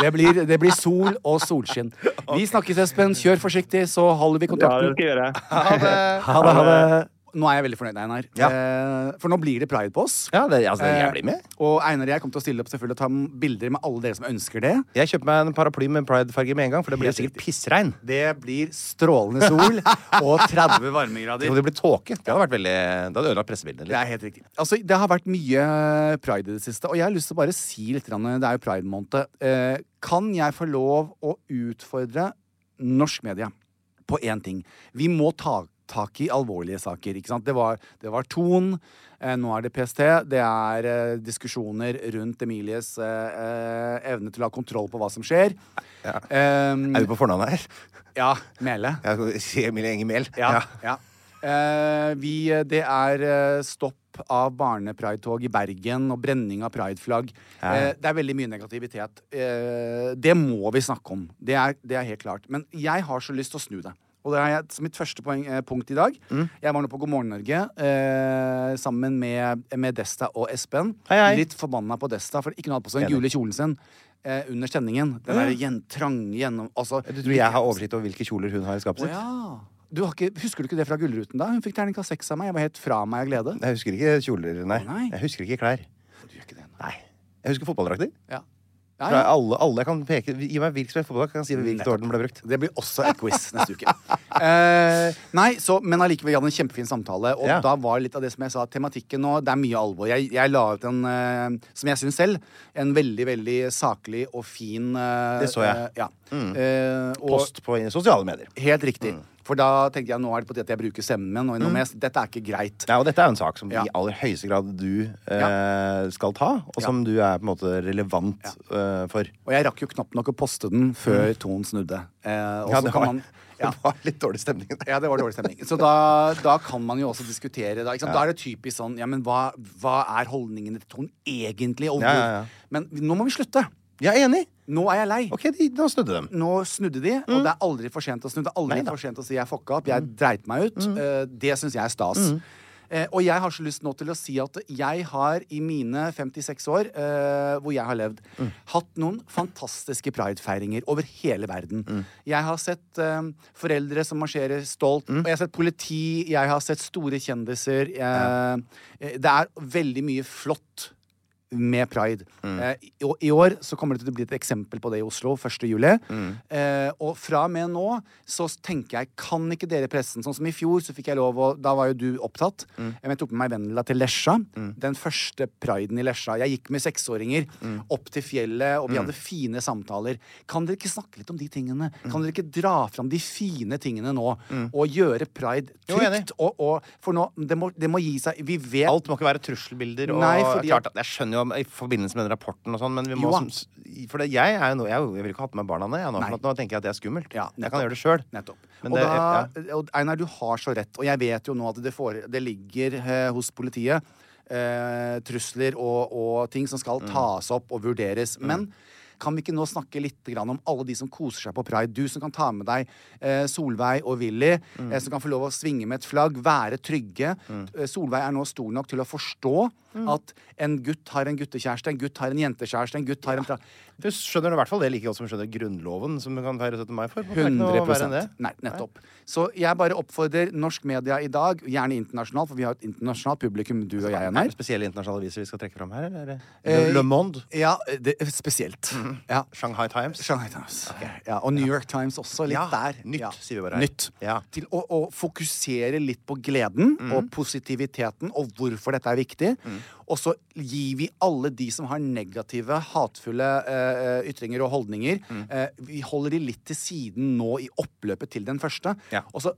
Speaker 4: Det blir, det blir sol og solskinn. Vi snakkes, Espen. Kjør forsiktig, så holder vi
Speaker 5: Ja, det
Speaker 4: kontakten.
Speaker 5: skal jeg gjøre.
Speaker 3: Ha det.
Speaker 4: Ha det, ha det. Nå er jeg veldig fornøyd, Einar.
Speaker 3: Ja.
Speaker 4: Eh, For nå blir det pride på oss.
Speaker 3: Ja, det, altså,
Speaker 4: Eh,
Speaker 3: jeg blir med.
Speaker 4: Og Einar og jeg kommer til å stille opp selvfølgelig og ta bilder med alle dere som ønsker det.
Speaker 3: Jeg kjøper meg en paraply med pride-farge med en gang, for det blir
Speaker 4: Helt
Speaker 3: sikkert
Speaker 4: riktig.
Speaker 3: pissregn.
Speaker 4: Det blir strålende sol og 30
Speaker 3: Og
Speaker 4: varmegrader.
Speaker 3: det blir tåke. Det hadde vært veldig Det hadde ødelagt pressebildene
Speaker 4: Det
Speaker 3: litt.
Speaker 4: er helt riktig. Altså, det har vært mye eh, pride i det siste, og jeg har lyst til å bare si litt grann, Det er jo pride-måned. Eh, kan jeg få lov å utfordre norsk media på én ting? Vi må ta, tak i alvorlige saker. Ikke sant? Det, var, det var Ton, eh, nå er det PST. Det er eh, diskusjoner rundt Emilies eh, eh, evne til å ha kontroll på hva som skjer.
Speaker 3: Ja.
Speaker 4: Ehm,
Speaker 3: Er vi på fornavn her?
Speaker 4: ja Mele.
Speaker 3: Ja, skal vi si Emilie Enger Mehl?
Speaker 4: Ja. ja. Eh, vi, eh, det er eh, stopp av barnepridetog i Bergen og brenning av prideflagg. Eh, det er veldig mye negativitet. Eh, det må vi snakke om. Det er, det er helt klart. Men jeg har så lyst til å snu det. Og det har jeg som mitt første poeng, eh, punkt i dag.
Speaker 3: Mm.
Speaker 4: Jeg var nå på God morgen Norge eh, sammen med, med Desta og Espen.
Speaker 3: Hei, hei.
Speaker 4: Litt forbanna på Desta, for ikke hun hadde på seg den gule kjolen sin eh, under stemningen. Den der gjen, trange gjennom... Altså,
Speaker 3: Du tror jeg har oversikt over hvilke kjoler hun har i skapet sitt?
Speaker 4: å ja. du har ikke, husker du ikke det fra Gullruten, da? Hun fikk terningkast seks av meg. Jeg var helt fra meg av glede.
Speaker 3: Jeg husker ikke kjoler, nei.
Speaker 4: Å, nei.
Speaker 3: Jeg husker ikke klær.
Speaker 4: Du gjør ikke det, nei.
Speaker 3: Nei. Jeg husker fotballdrakter.
Speaker 4: Ja.
Speaker 3: Fra
Speaker 4: Ja, ja.
Speaker 3: Alle, alle kan peke Gi meg hvilken som helst fotballdrakt, kan jeg si hvilket år den ble brukt.
Speaker 4: Det blir også et quiz neste uke. Eh, nei, så, Men allikevel, vi hadde en kjempefin samtale. Og
Speaker 3: Ja.
Speaker 4: da var litt av det som jeg sa, tematikken nå, det er mye alvor. Jeg, jeg la ut en, eh, som jeg syns selv, en veldig, veldig saklig og fin eh,
Speaker 3: Det så jeg.
Speaker 4: eh, ja. Eh, og-
Speaker 3: Post på sosiale medier.
Speaker 4: Helt riktig. For da tenkte jeg nå er det på tide at jeg bruker stemmen min. Og nå må jeg- dette er ikke greit.
Speaker 3: Nei, og dette er jo en sak som
Speaker 4: Ja.
Speaker 3: i aller høyeste grad du eh,
Speaker 4: Ja.
Speaker 3: skal ta, og som du er på en måte relevant eh, for.
Speaker 4: Og jeg rakk jo knapt nok å poste den før Ton snudde. Eh, og
Speaker 3: Mm. Ja,
Speaker 4: så
Speaker 3: det
Speaker 4: kan
Speaker 3: var-
Speaker 4: man, ja.
Speaker 3: Det var litt dårlig stemning der.
Speaker 4: ja, det var dårlig stemning. Så da, da kan man jo også diskutere. Da, ikke sant? da er det typisk sånn Ja, men hva, hva er holdningene til Ton egentlig? Og hvor?
Speaker 3: Ja, ja, ja.
Speaker 4: Men nå må vi slutte.
Speaker 3: Jeg er enig.
Speaker 4: Nå er jeg lei.
Speaker 3: Ok, de, da snudde dem. Mm.
Speaker 4: Nå snudde de, og det er aldri for sent å snu. Det er aldri
Speaker 3: Neida. Mm.
Speaker 4: for sent å si 'jeg fucka opp', 'jeg dreit meg ut'. Eh, det syns jeg er stas. Eh, og jeg har så lyst nå til å si at jeg har i mine 56 år, eh, hvor jeg har levd,
Speaker 3: Mm.
Speaker 4: hatt noen fantastiske pridefeiringer over hele verden.
Speaker 3: Mm.
Speaker 4: Jeg har sett eh, foreldre som marsjerer stolt,
Speaker 3: Mm.
Speaker 4: og jeg har sett politi, jeg har sett store kjendiser. eh, eh, Det er veldig mye flott med pride.
Speaker 3: Mm.
Speaker 4: Eh, i, og I år så kommer det til å bli et eksempel på det i Oslo 1. juli.
Speaker 3: Mm.
Speaker 4: Eh, og fra og med nå så s- tenker jeg, kan ikke dere pressen Sånn som i fjor, så fikk jeg lov å Da var jo du opptatt.
Speaker 3: Mm.
Speaker 4: Eh, men Jeg tok med meg Vendela til Lesja. Den første priden i Lesja. Jeg gikk med seksåringer
Speaker 3: Mm.
Speaker 4: opp til fjellet, og vi hadde fine samtaler. Kan dere ikke snakke litt om de tingene?
Speaker 3: Mm.
Speaker 4: Kan dere ikke dra fram de fine tingene nå? Og gjøre pride
Speaker 3: Jo, enig.
Speaker 4: trygt? Og, og, for nå, det må, det må gi seg. Vi vet
Speaker 3: Alt må ikke være trusselbilder. Og
Speaker 4: Nei, fordi
Speaker 3: klart,
Speaker 4: at-
Speaker 3: at- jeg skjønner jo om- i forbindelse med den rapporten og sånn, men vi må
Speaker 4: Jo da.
Speaker 3: som, s- For det, jeg er jo nå Jeg, er jo- jeg vil ikke ha på meg barna ned, jeg nå,
Speaker 4: Nei.
Speaker 3: for at nå tenker jeg at det er skummelt.
Speaker 4: Ja,
Speaker 3: jeg kan
Speaker 4: nettopp.
Speaker 3: gjøre det sjøl.
Speaker 4: Nettopp.
Speaker 3: Men
Speaker 4: og
Speaker 3: det-
Speaker 4: da, og Einar, du har så rett. Og jeg vet jo nå at det, fore, det ligger eh, hos politiet eh, trusler og, og ting som skal
Speaker 3: Mm.
Speaker 4: tas opp og vurderes. Men kan vi ikke nå snakke litt grann om alle de som koser seg på pride? Du som kan ta med deg eh, Solveig og Willy,
Speaker 3: Mm.
Speaker 4: eh, som kan få lov å svinge med et flagg, være trygge. Eh, Solveig er nå stor nok til å forstå
Speaker 3: Mm.
Speaker 4: at en gutt har en guttekjæreste, en gutt har en jentekjæreste, en gutt har en tra...
Speaker 3: Du skjønner i hvert fall det like godt som du skjønner Grunnloven, som du kan feire 17. mai for. Det er ikke noe verre enn
Speaker 4: 100
Speaker 3: det.
Speaker 4: Nei, nettopp. Så jeg bare oppfordrer norsk media i dag, gjerne internasjonalt, for vi har et internasjonalt publikum, du og jeg,
Speaker 3: Er det
Speaker 4: Einar.
Speaker 3: spesielle internasjonale aviser vi skal trekke fram her, eller?
Speaker 4: Eh,
Speaker 3: Le Monde?
Speaker 4: Ja, det, spesielt. Ja.
Speaker 3: Shanghai Times?
Speaker 4: Shanghai Times. Ja, og New York Times også. Litt
Speaker 3: Ja,
Speaker 4: der.
Speaker 3: nytt,
Speaker 4: Ja.
Speaker 3: sier vi bare her.
Speaker 4: Nytt.
Speaker 3: Ja. Mhm.
Speaker 4: Til å, å fokusere litt på gleden og positiviteten og hvorfor dette er viktig. Og så gir vi alle de som har negative, hatefulle eh, ytringer og holdninger
Speaker 3: Mhm.
Speaker 4: eh, Vi holder de litt til siden nå i oppløpet til den første.
Speaker 3: Ja.
Speaker 4: Og så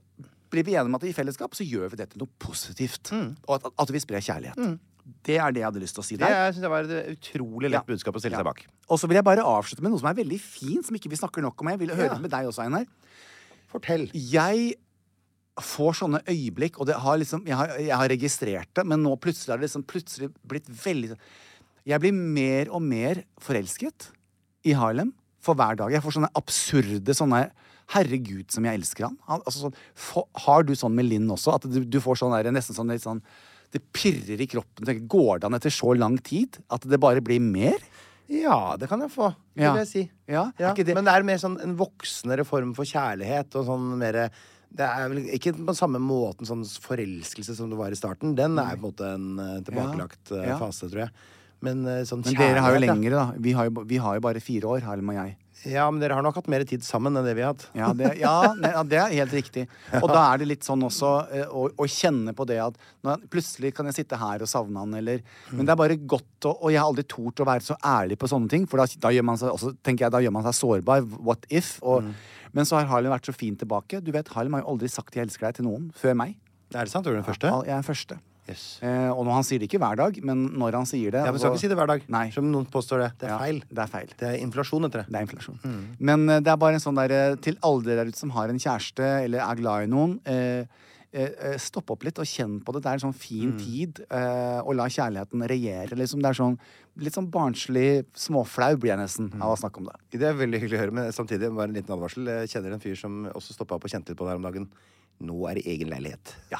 Speaker 4: blir vi enige om at i fellesskap så gjør vi dette noe positivt. Og at, at vi sprer kjærlighet. Det er det jeg hadde lyst til å si
Speaker 3: Mhm. Det
Speaker 4: der.
Speaker 3: er- synes jeg var et eh, utrolig lett
Speaker 4: Ja.
Speaker 3: budskap å stille
Speaker 4: Ja.
Speaker 3: seg bak.
Speaker 4: Og så vil jeg bare avslutte med noe som er veldig fint, som ikke vi snakker nok om. Jeg vil høre med deg også, Einar.
Speaker 3: Fortell.
Speaker 4: Jeg får sånne øyeblikk, og det har liksom, jeg, har, jeg har registrert det, men nå plutselig har det liksom plutselig blitt veldig sånn- Jeg blir mer og mer forelsket i Harlem for hver dag. Jeg får sånne absurde sånne Herregud, som jeg elsker han. han altså, sånn, få- har du sånn med Linn også? At du, du får sånn der, nesten sånn litt sånn Det pirrer i kroppen. Tenker, Går det an etter så lang tid at det bare blir mer?
Speaker 3: Ja, det kan jeg få, vil
Speaker 4: Ja.
Speaker 3: jeg si.
Speaker 4: Ja, er ikke det-
Speaker 3: Men det er mer sånn en voksnere form for kjærlighet og sånn mer det er vel ikke på samme måten sånn forelskelse som det var i starten. Den er på en måte en eh, tilbakelagt eh,
Speaker 4: Ja.
Speaker 3: fase, tror jeg. Men eh, sånn
Speaker 4: Men dere har jo
Speaker 3: kjærlighet, ja.
Speaker 4: lengre, da. Vi har jo, ba- vi har jo bare fire år, Harlem og jeg.
Speaker 3: Ja, men dere har nok hatt mer tid sammen enn det vi har hatt.
Speaker 4: Ja, det, ja, ne- ja, det er helt riktig. Og da er det litt sånn også eh, å, å kjenne på det at nå, plutselig kan jeg sitte her og savne han, eller
Speaker 3: Mm.
Speaker 4: Men det er bare godt å Og jeg har aldri tort å være så ærlig på sånne ting, for da, da gjør man seg også, tenker jeg, da gjør man seg sårbar. What if? Og,
Speaker 3: Mm.
Speaker 4: Men så har Harlem vært så fin tilbake. Du vet, Harlem har jo aldri sagt 'jeg elsker deg' til noen før meg.
Speaker 3: Er det sant? Er du den første?
Speaker 4: Al- Jeg er første.
Speaker 3: Yes.
Speaker 4: Eh, og når han sier det ikke hver dag, men når han sier det
Speaker 3: Ja, men skal
Speaker 4: og-
Speaker 3: ikke si det hver dag,
Speaker 4: Nei.
Speaker 3: som noen påstår det. Det er
Speaker 4: Ja,
Speaker 3: feil.
Speaker 4: Det er feil.
Speaker 3: Det er inflasjon etter det. Mm.
Speaker 4: Det er inflasjon. Men eh, det er bare en sånn derre til alle dere der ute som har en kjæreste eller er glad i noen. Eh, eh, eh, Stopp opp litt og kjenn på det. Det er en sånn fin tid eh, å la kjærligheten regjere. Liksom. Det er sånn, litt sånn barnslig småflau blir jeg nesten av å snakke om det.
Speaker 3: Det er veldig hyggelig å høre, men samtidig bare en liten advarsel. Jeg kjenner en fyr som også stoppa opp og kjente litt på det her om dagen. Nå er det egen leilighet.
Speaker 4: Ja.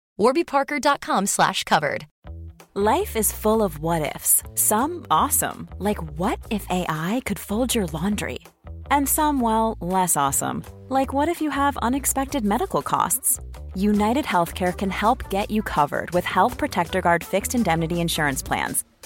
Speaker 6: warbyparker.com slash covered.
Speaker 1: Life is full of what ifs. Some awesome, like what if AI could fold your laundry? And some, well, less awesome, like what if you have unexpected medical costs? United Healthcare can help get you covered with Health Protector Guard fixed indemnity insurance plans.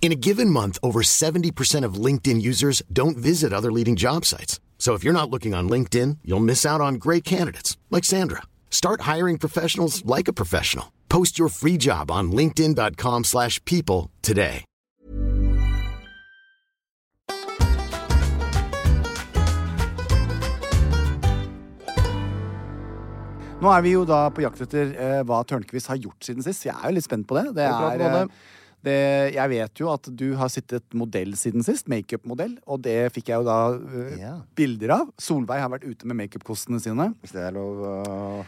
Speaker 7: In a given month, over 70% of LinkedIn users don't visit other leading job sites. So if you're not looking on LinkedIn, you'll miss out on great candidates like Sandra. Start hiring professionals like a professional. Post your free job on linkedin.com/people slash people today.
Speaker 4: Nå er vi jo da på jakt etter eh, hva Tørnquist har gjort siden sist. Jeg er jo litt spent på det. Det
Speaker 3: Har du
Speaker 4: er,
Speaker 3: pratet om
Speaker 4: eh, det, jeg vet jo at du har sittet modell siden sist. Makeup-modell. Og det fikk jeg jo da eh,
Speaker 3: Ja.
Speaker 4: bilder av. Solveig har vært ute med makeupkostene sine.
Speaker 3: Hvis det er lov å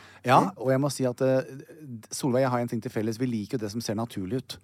Speaker 4: Ja, og jeg må si at eh, Solveig og jeg har en ting til felles. Vi liker jo det som ser naturlig ut.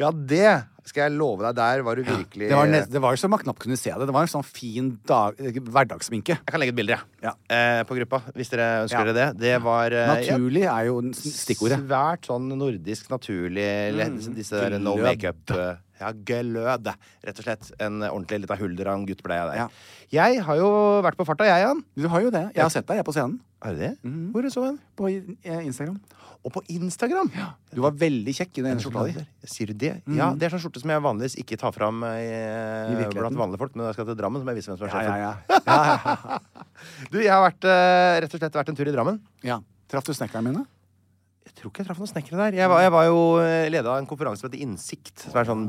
Speaker 3: Ja, det skal jeg love deg. Der var du virkelig
Speaker 4: Det var, nest, det var jo så man knapt kunne se det. Det var en sånn fin dag, eh, hverdagssminke.
Speaker 3: Jeg kan legge ut bilder, jeg.
Speaker 4: Ja.
Speaker 3: Eh, på gruppa, hvis dere ønsker
Speaker 4: Ja.
Speaker 3: dere det. Det var eh, ja,
Speaker 4: Naturlig er jo den s- stikkordet.
Speaker 3: Svært sånn nordisk naturlig eller Disse der no
Speaker 4: Mm. Glød.
Speaker 3: makeup eh, Ja, glød, rett og slett. En eh, ordentlig lita hulder av en gutt ble jeg der.
Speaker 4: Ja.
Speaker 3: Jeg har jo vært på farta, jeg, Jan.
Speaker 4: Du har jo det. Jeg har sett deg, jeg, på scenen.
Speaker 3: Har du det?
Speaker 4: Mm. Mhm.
Speaker 3: Hvor så jeg den?
Speaker 4: På eh, Instagram.
Speaker 3: Og på Instagram!
Speaker 4: Du var veldig kjekk i den ene skjorta di.
Speaker 3: Sier du det? Ja, det er sånn skjorte som jeg vanligvis ikke tar fram eh,
Speaker 4: Mm. I virkeligheten.
Speaker 3: blant vanlige folk, men når jeg skal til Drammen, så må jeg vise hvem som er
Speaker 4: Ja, ja,
Speaker 3: sjefen.
Speaker 4: ja. ja, ja, ja.
Speaker 3: Du, jeg har vært, eh, rett og slett vært en tur i Drammen.
Speaker 4: ja. Traff du snekkerne mine?
Speaker 3: Jeg tror ikke jeg traff noen snekkere der. Jeg var, jeg var jo leda av en konferanse som heter Innsikt, som er en sånn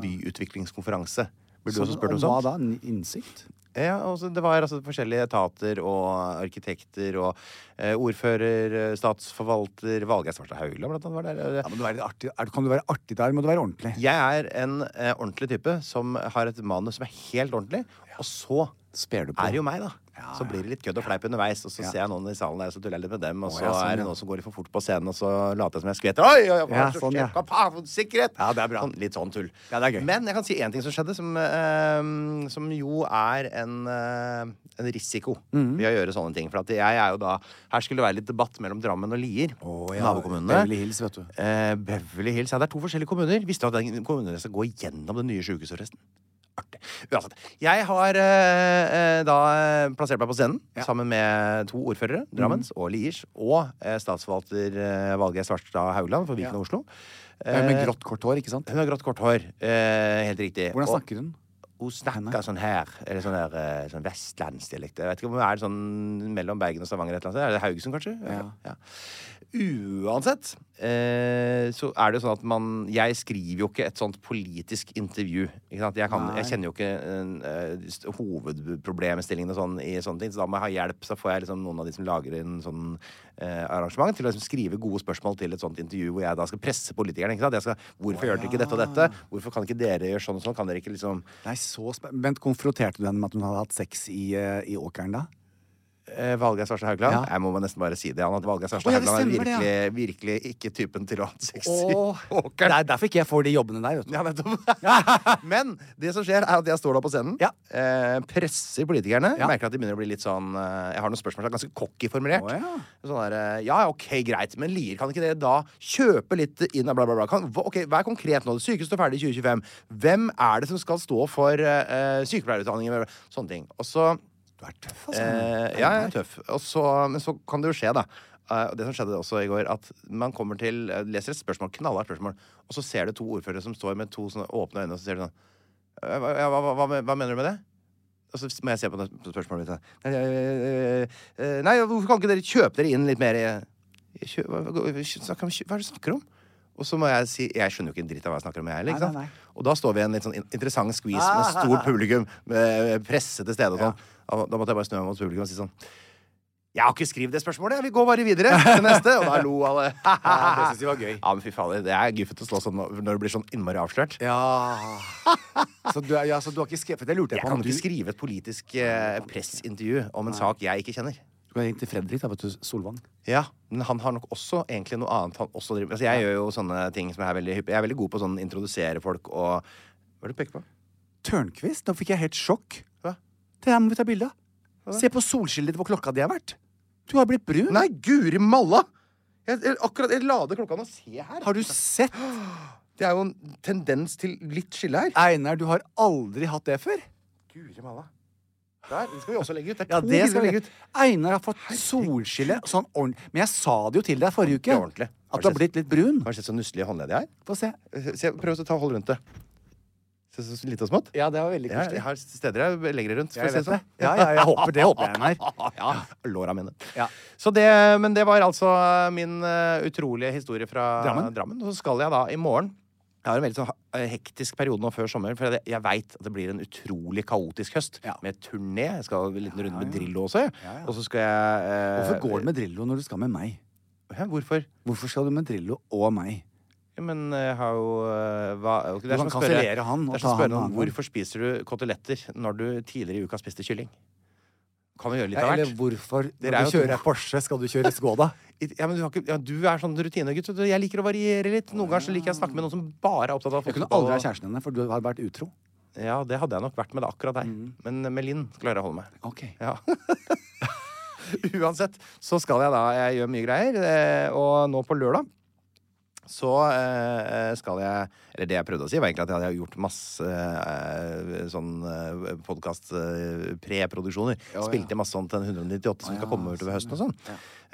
Speaker 3: byutviklingskonferanse. Burde du også spurt om
Speaker 4: Ah. hva
Speaker 3: sånt?
Speaker 4: da? N- Innsikt?
Speaker 3: Ja, og så det var altså forskjellige etater og arkitekter og eh, ordfører, eh, statsforvalter Valgeir Svarstad Haugland blant annet var der.
Speaker 4: Ja, men du er litt artig. Er, kan du være artig der, må du være ordentlig.
Speaker 3: Jeg er en eh, ordentlig type som har et manus som er helt ordentlig. Og så
Speaker 4: Sper du på.
Speaker 3: er det jo meg, da. Så blir det litt kødd og fleip underveis, og så ser jeg noen i salen der, så tuller jeg litt med dem, og
Speaker 4: Å,
Speaker 3: så
Speaker 4: ja, sånn,
Speaker 3: er det
Speaker 4: ja.
Speaker 3: noen som går litt for fort på scenen, og så later jeg som jeg skvetter. Oi, oi, oi,
Speaker 4: Ja,
Speaker 3: så
Speaker 4: sånn, ja.
Speaker 3: sjekk opp, ha, for sikkerhet!
Speaker 4: Ja, det er bra.
Speaker 3: Sånn, litt sånn tull.
Speaker 4: Ja, det er gøy.
Speaker 3: Men jeg kan si én ting som skjedde, som, eh, som jo er en, eh, en risiko
Speaker 4: Mhm.
Speaker 3: ved å gjøre sånne ting. For at jeg er jo da Her skulle det være litt debatt mellom Drammen og Lier,
Speaker 4: Å, ja.
Speaker 3: nabokommunene.
Speaker 4: Beverly Hills, vet du.
Speaker 3: Eh, Beverly Hills. Ja, det er to forskjellige kommuner. Visste du at den kommunen skal gå gjennom det nye sykehuset, forresten? Artig. Uansett. Jeg har eh, eh, da eh, plassert meg på scenen sammen med to ordførere, Drammens og Liers, og eh, statsforvalter eh, Valgeir Svarstad Haugland for Viken og Oslo.
Speaker 4: Eh, Med grått, kort hår, ikke sant?
Speaker 3: Hun har grått kort hår. Eh, helt riktig.
Speaker 4: Hvordan
Speaker 3: Og-
Speaker 4: snakker hun?
Speaker 3: Hun snakka sånn her. Eller sånn, der, eh, sånn vestlandsdialekt. Jeg vet ikke, om- Er det sånn mellom Bergen og Stavanger? Et eller annet? sted? Er det Haugesund, kanskje? Ja. Uansett eh, så er det jo sånn at man Jeg skriver jo ikke et sånt politisk intervju. Ikke sant? Jeg, kan, jeg kjenner jo ikke eh, eh, hovedproblemstillingene og sånn i sånne ting, så da må jeg ha hjelp. Så får jeg liksom noen av de som lager en sånn eh, arrangement, til å liksom skrive gode spørsmål til et sånt intervju hvor jeg da skal presse politikerne. Ikke sant? Jeg skal, hvorfor gjør dere ikke dette og dette? Hvorfor kan ikke dere gjøre sånn og sånn? Kan dere ikke liksom
Speaker 4: Nei, så spen- Vent, konfronterte du henne med at hun hadde hatt sex i, eh, i åkeren da?
Speaker 3: Eh, Valgeir Svarstad Haugland?
Speaker 4: Ja.
Speaker 3: Jeg må nesten bare si det. Han at Valgeir
Speaker 4: Å,
Speaker 3: Svarstad
Speaker 4: ja, det
Speaker 3: Haugland er
Speaker 4: stemmer det, ja.
Speaker 3: virkelig, virkelig ikke typen til å ha sex i
Speaker 4: Åh. Det
Speaker 3: åkeren.
Speaker 4: er derfor ikke jeg får de jobbene der, vet du.
Speaker 3: Ja, nettopp. Men det som skjer, er at jeg står da på scenen,
Speaker 4: Ja.
Speaker 3: eh, presser politikerne.
Speaker 4: Ja.
Speaker 3: Merker at de begynner å bli litt sånn eh, Jeg har noen spørsmål som er ganske cocky formulert.
Speaker 4: Å, ja.
Speaker 3: Sånn der, eh, ja, ja, ok, greit, men Lier, kan ikke dere da kjøpe litt inn av bla, bla, bla? Kan, hva- ok, Vær konkret nå. Det sykehuset står ferdig i 2025. Hvem er det som skal stå for eh, sykepleierutdanningen? Bla, bla, bla. Sånne ting. Og så
Speaker 4: Du er tøff, altså.
Speaker 3: Eh, ja, jeg er tøff. Og så, men så kan det jo skje, da. Eh, og det som skjedde også i går, at man kommer til eh, leser et spørsmål, knallhardt spørsmål, og så ser du to ordførere som står med to sånne åpne øyne, og så ser du sånn «Eh, hva, ja, hva, hva, hva, hva mener du med det? Og så må jeg se på det spørsmålet mitt. da. Nei, eh, eh, nei, hvorfor kan ikke dere kjøpe dere inn litt mer? eh?» i- i kjø- hva- hva- snakk om kjø- Hva er det du snakker om? Og så må jeg si Jeg skjønner jo ikke en dritt av hva jeg snakker om, jeg heller. ikke
Speaker 4: Nei,
Speaker 3: sant?
Speaker 4: nei, nei.
Speaker 3: Og da står vi i en litt sånn in- interessant skvis med stort publikum, med presse til stede og sånn. Da- Da måtte jeg bare snu meg mot publikum og si sånn jeg har ikke skrevet det spørsmålet. jeg. Vi går bare videre til neste. Og da lo alle.
Speaker 4: Ja, det synes jeg var gøy.
Speaker 3: Ja, men fy fader, Det er guffet å slå sånn når du blir sånn innmari avslørt.
Speaker 4: Ja. Så du, er- ja, så du har ikke skrevet for Det lurte
Speaker 3: Jeg
Speaker 4: jeg, på.
Speaker 3: kan
Speaker 4: om
Speaker 3: ikke
Speaker 4: du-
Speaker 3: skrive et politisk eh, pressintervju om en sak jeg ikke kjenner.
Speaker 4: Du kan ringe til Fredrik, da, vet du. Solvang.
Speaker 3: Ja, Men han har nok også egentlig noe annet han også driver med. Altså, jeg gjør jo sånne ting som er veldig hyppig. Jeg er veldig god på å sånn introdusere folk og Hva er det du peker på?
Speaker 4: Tørnquist? Nå fikk jeg helt sjokk.
Speaker 3: Hva?
Speaker 4: Det her må vi ta bilde av. Se på solskillet hvor klokka di har vært. Du har blitt brun.
Speaker 3: Nei, guri malla! Jeg, jeg, akkurat, jeg lader klokka nå. Se her.
Speaker 4: Har du sett?
Speaker 3: Det er jo en tendens til litt skille her.
Speaker 4: Einar, du har aldri hatt det før.
Speaker 3: Guri malla. Der, den skal vi også legge ut. Det er
Speaker 4: Ja,
Speaker 3: to
Speaker 4: det skal
Speaker 3: bilder
Speaker 4: vi
Speaker 3: å legge
Speaker 4: legge ut. Einar har fått solskille sånn ordentlig. Men jeg sa det jo til deg forrige uke.
Speaker 3: Ordentlig, ordentlig. Har
Speaker 4: At du har
Speaker 3: du
Speaker 4: blitt litt brun.
Speaker 3: Har du sett så nusselig håndledd jeg
Speaker 4: Få se.
Speaker 3: er? Se, prøv å ta hold rundt det. Se så lite og smått.
Speaker 4: Ja, det var veldig
Speaker 3: Jeg, jeg har steder jeg legger det rundt. for å
Speaker 4: Jeg
Speaker 3: si
Speaker 4: vet det.
Speaker 3: sånn.
Speaker 4: Ja, ja, jeg håper det. håper jeg, Einar.
Speaker 3: Ja, låra mine.
Speaker 4: Ja.
Speaker 3: Så det, men det var altså min eh, utrolige historie fra
Speaker 4: Drammen.
Speaker 3: Drammen. Og så skal jeg da i morgen Jeg har en veldig sånn ha- hektisk periode nå før sommeren, for jeg, jeg veit at det blir en utrolig kaotisk høst
Speaker 4: Ja.
Speaker 3: med turné. Jeg skal ha en liten runde med Drillo også, jeg. Og så skal jeg eh,
Speaker 4: Hvorfor går du med Drillo når du skal med meg?
Speaker 3: Hæ, Hvorfor?
Speaker 4: Hvorfor skal du med Drillo og meg?
Speaker 3: Ja, Men jeg har jo eh, hva, ok, det er
Speaker 4: kan
Speaker 3: som å spørre-
Speaker 4: kansellere han og
Speaker 3: Det er som å
Speaker 4: ta han
Speaker 3: spørre
Speaker 4: en
Speaker 3: noen
Speaker 4: annen gang.
Speaker 3: hvorfor spiser du koteletter når du tidligere i uka spiste kylling. Kan jo gjøre litt
Speaker 4: Ja,
Speaker 3: av
Speaker 4: eller
Speaker 3: hvert.
Speaker 4: hvorfor
Speaker 3: Dere er
Speaker 4: Når du
Speaker 3: jo
Speaker 4: kjører Porsche, skal du kjøre Skoda?
Speaker 3: Ja, men du, har ikke, ja, du er sånn rutinegutt. vet du. Jeg liker å variere litt. Noen ganger så liker jeg å snakke med noen som bare er opptatt av
Speaker 4: Jeg
Speaker 3: fotball.
Speaker 4: kunne aldri ha
Speaker 3: og-
Speaker 4: kjæresten henne, for du hadde vært utro.
Speaker 3: Ja, det hadde jeg nok vært med det akkurat der.
Speaker 4: Mm.
Speaker 3: Men eh, med Linn klarer jeg å holde meg.
Speaker 4: Ok.
Speaker 3: Ja. Uansett så skal jeg da Jeg gjør mye greier. eh, Og nå på lørdag så eh, skal jeg Eller det jeg prøvde å si, var egentlig at jeg hadde gjort masse eh, sånn eh, podkast-preproduksjoner. Spilte inn masse sånn til en 198 som skal komme utover høsten og sånn.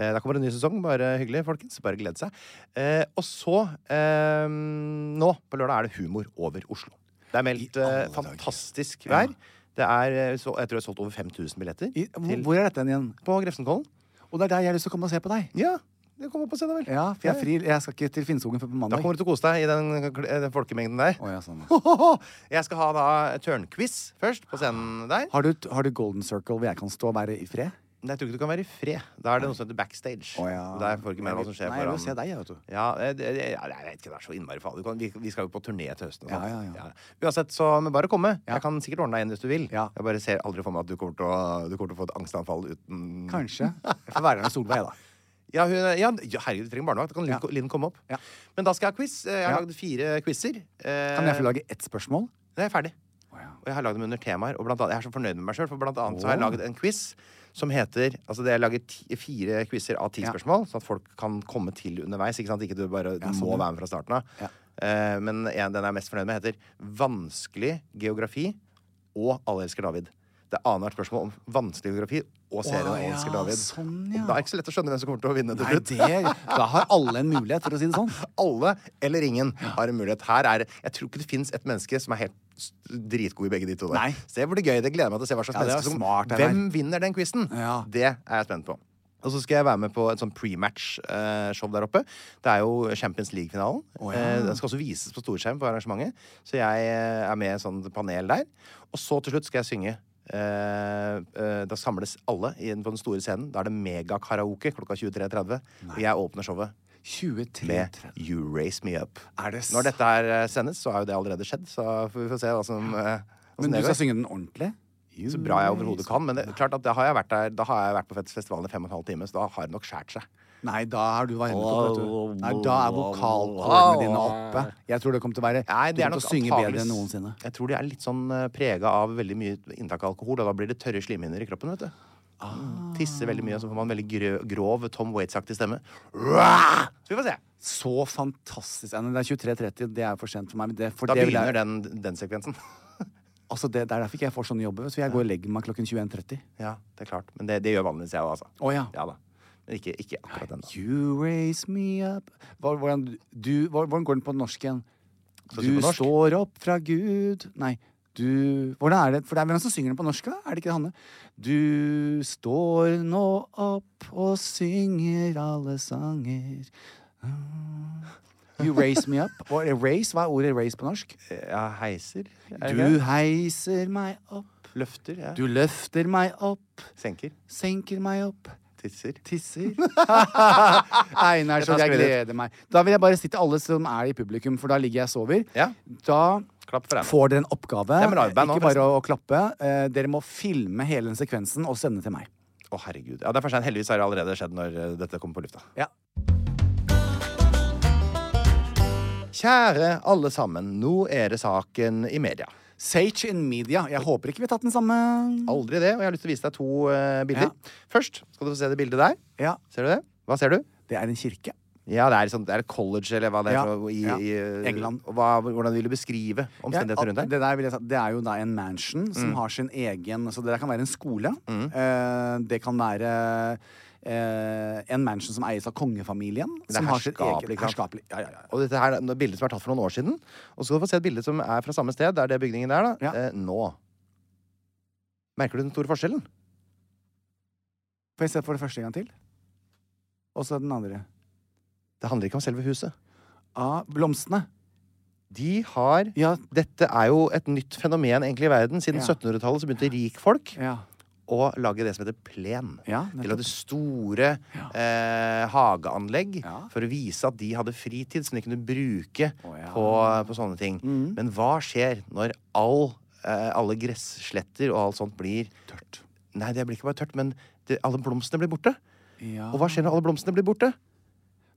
Speaker 3: Eh, da kommer det en ny sesong. Bare hyggelig, folkens. Bare glede seg. Eh, og så eh, Nå på lørdag er det humor over Oslo. Det er meldt eh, fantastisk vær. Det er, eh, så, jeg tror jeg har solgt over 5000 billetter.
Speaker 4: I, hvor,
Speaker 3: til,
Speaker 4: hvor er dette igjen?
Speaker 3: på Grefsenkollen.
Speaker 4: Og det er der jeg har lyst til å komme og se på deg.
Speaker 3: Ja, det kommer på scenen, vel.
Speaker 4: Ja, for jeg, er fri, jeg skal ikke til Finnskogen før på
Speaker 3: Da
Speaker 4: mandag.
Speaker 3: kommer du til å kose deg i den, kl- eh, den folkemengden der.
Speaker 4: Å, ja, sånn.
Speaker 3: Jeg skal ha da tørnquiz først på scenen der.
Speaker 4: har, du, har du Golden Circle hvor jeg kan stå og være i fred?
Speaker 3: Nei, jeg tror ikke du kan være i fred. Da er det noe som heter backstage.
Speaker 4: Å, ja.
Speaker 3: Der får du ikke med
Speaker 4: Nei,
Speaker 3: hva som skjer
Speaker 4: nei, jeg vil
Speaker 3: foran.
Speaker 4: se deg, jeg, vet du.
Speaker 3: Ja, eh, det- det- ja, jeg vet ikke, det er så innmari farlig. Du kan- Vi, vi skal jo på turné til høsten. og sånt.
Speaker 4: Ja, ja, ja.
Speaker 3: Uansett, så men bare komme. Jeg kan sikkert ordne deg inn hvis du vil.
Speaker 4: Ja.
Speaker 3: Jeg bare ser aldri for meg at du kommer til å, du kommer til å få et angstanfall uten
Speaker 4: Kanskje. Jeg får være med Solveig, da.
Speaker 3: Ja, hun, er- ja, ja, herregud, du trenger barnevakt. Da kan Linn,
Speaker 4: Ja.
Speaker 3: Linn komme opp.
Speaker 4: Ja.
Speaker 3: Men da skal jeg ha quiz. Eh, Jeg har
Speaker 4: Ja.
Speaker 3: lagd fire quizer.
Speaker 4: Kan jeg få lage ett spørsmål?
Speaker 3: Det er ferdig. Og jeg har lagd dem under temaer. Og blant annet, jeg er så fornøyd med meg sjøl, for blant annet så har jeg lagd en quiz som heter Altså det jeg lager ti, fire quizer av ti
Speaker 4: Ja.
Speaker 3: spørsmål, sånn at folk kan komme til underveis. Ikke sant? Ikke du bare du må være med fra starten av.
Speaker 4: sånn, Ja.
Speaker 3: Eh, men en, den jeg er mest fornøyd med, heter Vanskelig geografi og Alle elsker David. Det er annethvert spørsmål om vanskelig geografi og serien
Speaker 4: Å,
Speaker 3: og
Speaker 4: ja,
Speaker 3: Oscar David.
Speaker 4: sånn, ja.
Speaker 3: Da er det ikke så lett å skjønne hvem som kommer til å vinne til
Speaker 4: Nei,
Speaker 3: slutt.
Speaker 4: det, da har alle en mulighet, for å si det sånn.
Speaker 3: Alle eller ingen har en mulighet. Her er, det- jeg tror ikke det fins et menneske som er helt s- dritgod i begge de to. Der.
Speaker 4: Nei.
Speaker 3: Så det blir gøy. Det gleder jeg meg til å se hva slags
Speaker 4: Ja, det er
Speaker 3: menneske som
Speaker 4: smart, det
Speaker 3: Hvem vinner den quizen?
Speaker 4: Ja.
Speaker 3: Det er jeg spent på. Og så skal jeg være med på et sånn prematch-show der oppe. Det er jo Champions League-finalen. Eh, Den skal også vises på storskjerm på arrangementet. Så jeg eh, er med i et sånt panel der. Og så til slutt skal jeg synge. Eh, eh, da samles alle inn på den store scenen. Da er det megakaraoke klokka 23.30. Og jeg åpner showet med
Speaker 4: 23.30.
Speaker 3: You Raise Me Up.
Speaker 4: Er det s-
Speaker 3: Når dette her eh, sendes, så har jo det allerede skjedd, så får vi får se hva som eh, hvordan
Speaker 4: Men du
Speaker 3: det
Speaker 4: skal
Speaker 3: går.
Speaker 4: synge den ordentlig?
Speaker 3: Så bra jeg overhodet kan, men det, klart at da har jeg vært der Da har jeg vært på fest- festivalen i fem og en halv time, så da har det nok skåret seg.
Speaker 4: Nei, da er du varmet opp, vet du. Nei, da er vokalkårene dine oppe. Jeg tror det kommer til å være
Speaker 3: Nei,
Speaker 4: Du
Speaker 3: det er
Speaker 4: kommer
Speaker 3: nok
Speaker 4: til å synge bedre
Speaker 3: antageligvis-
Speaker 4: enn noensinne.
Speaker 3: Jeg tror de er litt sånn prega av veldig mye inntak av alkohol, og da blir det tørre slimhinner i kroppen, vet du. Mm, Tisser veldig mye, og så får man veldig grø, grov Tom Waits-aktig stemme. Rah! Så vi får se.
Speaker 4: Så fantastisk. Ja, men Det er 23.30, det er for sent for meg. Men det, for
Speaker 3: Da
Speaker 4: det vil jeg-
Speaker 3: begynner den, den sekvensen.
Speaker 4: Altså, det, det er derfor ikke jeg får sånne jobber. Så jeg går og legger meg klokken 21.30.
Speaker 3: Ja, det er klart. Men det, det gjør vanligvis jeg òg, altså.
Speaker 4: Å, ja.
Speaker 3: ja da. Men ikke, ikke akkurat den, da.
Speaker 4: You raise me up Hva- hvordan, du, hva- hvordan går den på norsk igjen?
Speaker 3: Skal jeg
Speaker 4: Du
Speaker 3: synge på norsk?
Speaker 4: står opp fra Gud Nei, du Hvordan er det? For det er hvem som synger den på norsk, da? Er det ikke det Hanne? Du står nå opp og synger alle sanger Mm. You raise me up. Hva er raise? Hva er ordet raise på norsk?
Speaker 3: Ja, heiser. er det
Speaker 4: Du
Speaker 3: det?
Speaker 4: heiser meg opp.
Speaker 3: løfter. Ja.
Speaker 4: Du løfter meg opp.
Speaker 3: senker.
Speaker 4: Senker meg opp.
Speaker 3: Tisser.
Speaker 4: Tisser. Einar, så
Speaker 3: Dette
Speaker 4: jeg
Speaker 3: skal vi dit.
Speaker 4: gleder meg. Da vil jeg bare si til alle som er i publikum, for da ligger jeg og sover.
Speaker 3: Ja.
Speaker 4: Da
Speaker 3: Klapp for deg.
Speaker 4: får dere en oppgave.
Speaker 3: Det er med liveband
Speaker 4: Ikke
Speaker 3: nå,
Speaker 4: bare å klappe. Eh, Dere må filme hele den sekvensen og sende til meg.
Speaker 3: Å, herregud. Ja, det er for sent. Heldigvis har det allerede skjedd når eh, dette kommer på lufta.
Speaker 4: Ja.
Speaker 3: Kjære alle sammen. Nå er det saken i media.
Speaker 4: Sage in media. Jeg håper ikke vi har tatt den samme.
Speaker 3: Aldri det. Og jeg har lyst til å vise deg to eh, bilder. Først skal du få se det bildet der.
Speaker 4: Ja,
Speaker 3: Ser du det? Hva ser du?
Speaker 4: Det er en kirke.
Speaker 3: Ja, det er, sånn, det er college, eller hva det er.
Speaker 4: Ja,
Speaker 3: for, i,
Speaker 4: ja.
Speaker 3: i, eh,
Speaker 4: England.
Speaker 3: og Hva, hvordan vil du beskrive omstendighetene rundt
Speaker 4: Ja,
Speaker 3: der? Mm.
Speaker 4: det, der vil jeg, sa- det er jo da en mansion som har sin egen Så det der kan være en skole. Eh, det kan være eh, en mansion som eies av kongefamilien.
Speaker 3: er
Speaker 4: som har sin
Speaker 3: herskapelig,
Speaker 4: egen-
Speaker 3: ikke sant?
Speaker 4: herskapelig. Ja, ja, ja.
Speaker 3: Og dette her er bildet som er tatt for noen år siden. Og så skal du få se et bilde som er fra samme sted. Det er det bygningen der, da.
Speaker 4: Ja.
Speaker 3: Eh, nå. Merker du den store forskjellen?
Speaker 4: Får jeg se for det første en gang til? Og så den andre.
Speaker 3: Det handler ikke om selve huset.
Speaker 4: Ah, blomstene.
Speaker 3: De har
Speaker 4: Ja.
Speaker 3: Dette er jo et nytt fenomen egentlig i verden. Siden
Speaker 4: Ja.
Speaker 3: 1700-tallet så begynte rikfolk
Speaker 4: Ja.
Speaker 3: å lage det som heter plen.
Speaker 4: Ja,
Speaker 3: de
Speaker 4: nettopp.
Speaker 3: lagde store eh, hageanlegg
Speaker 4: Ja.
Speaker 3: for å vise at de hadde fritid som de kunne bruke
Speaker 4: Å, ja. Mm.
Speaker 3: på, på sånne ting. Men hva skjer når all, eh, alle gressletter og alt sånt blir
Speaker 4: Tørt.
Speaker 3: Nei, det blir ikke bare tørt, men det, alle blomstene blir borte.
Speaker 4: Ja.
Speaker 3: Og hva
Speaker 4: Ah.
Speaker 3: skjer når alle blomstene blir borte?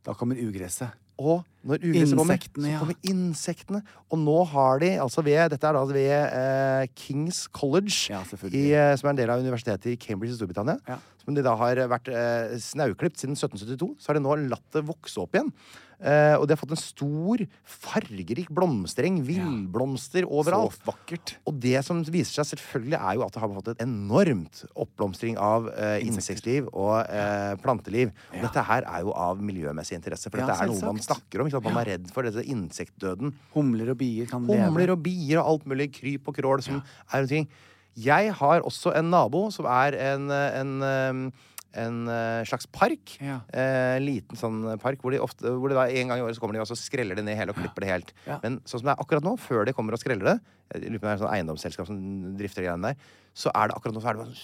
Speaker 4: Da kommer ugresset.
Speaker 3: Og når ugresset kommer,
Speaker 4: Insektene,
Speaker 3: så
Speaker 4: ja.
Speaker 3: kommer insektene. Og nå har de, altså ved, dette er da ved eh, Kings College,
Speaker 4: Ja, selvfølgelig.
Speaker 3: i, eh, som er en del av universitetet i Cambridge i Storbritannia,
Speaker 4: Ja.
Speaker 3: som de da har vært eh, snauklipt siden 1772, så har de nå latt det vokse opp igjen. Eh, og de har fått en stor, fargerik blomstereng, villblomster overalt.
Speaker 4: Så vakkert.
Speaker 3: Og det som viser seg, selvfølgelig er jo at det har fått et enormt oppblomstring av eh, insektliv og eh, planteliv. Og dette her er jo av miljømessig interesse, for
Speaker 4: Ja,
Speaker 3: dette er noe man
Speaker 4: selvsagt.
Speaker 3: snakker om. Ikke sant? Man er redd for dette insektdøden.
Speaker 4: Humler og bier kan
Speaker 3: Humler
Speaker 4: leve.
Speaker 3: og bier og alt mulig kryp og krål som er rundt omkring. Jeg har også en nabo som er en, eh, en eh, en eh, slags park.
Speaker 4: Ja.
Speaker 3: Eh, liten sånn park hvor de ofte hvor de da en gang i året så kommer de og så skreller de ned hele og klipper det helt.
Speaker 4: Ja.
Speaker 3: Men sånn som det er akkurat nå, før de kommer og skreller det Jeg lurer på om det er et sånt eiendomsselskap som drifter de greiene der. Så er det akkurat nå så er det bare en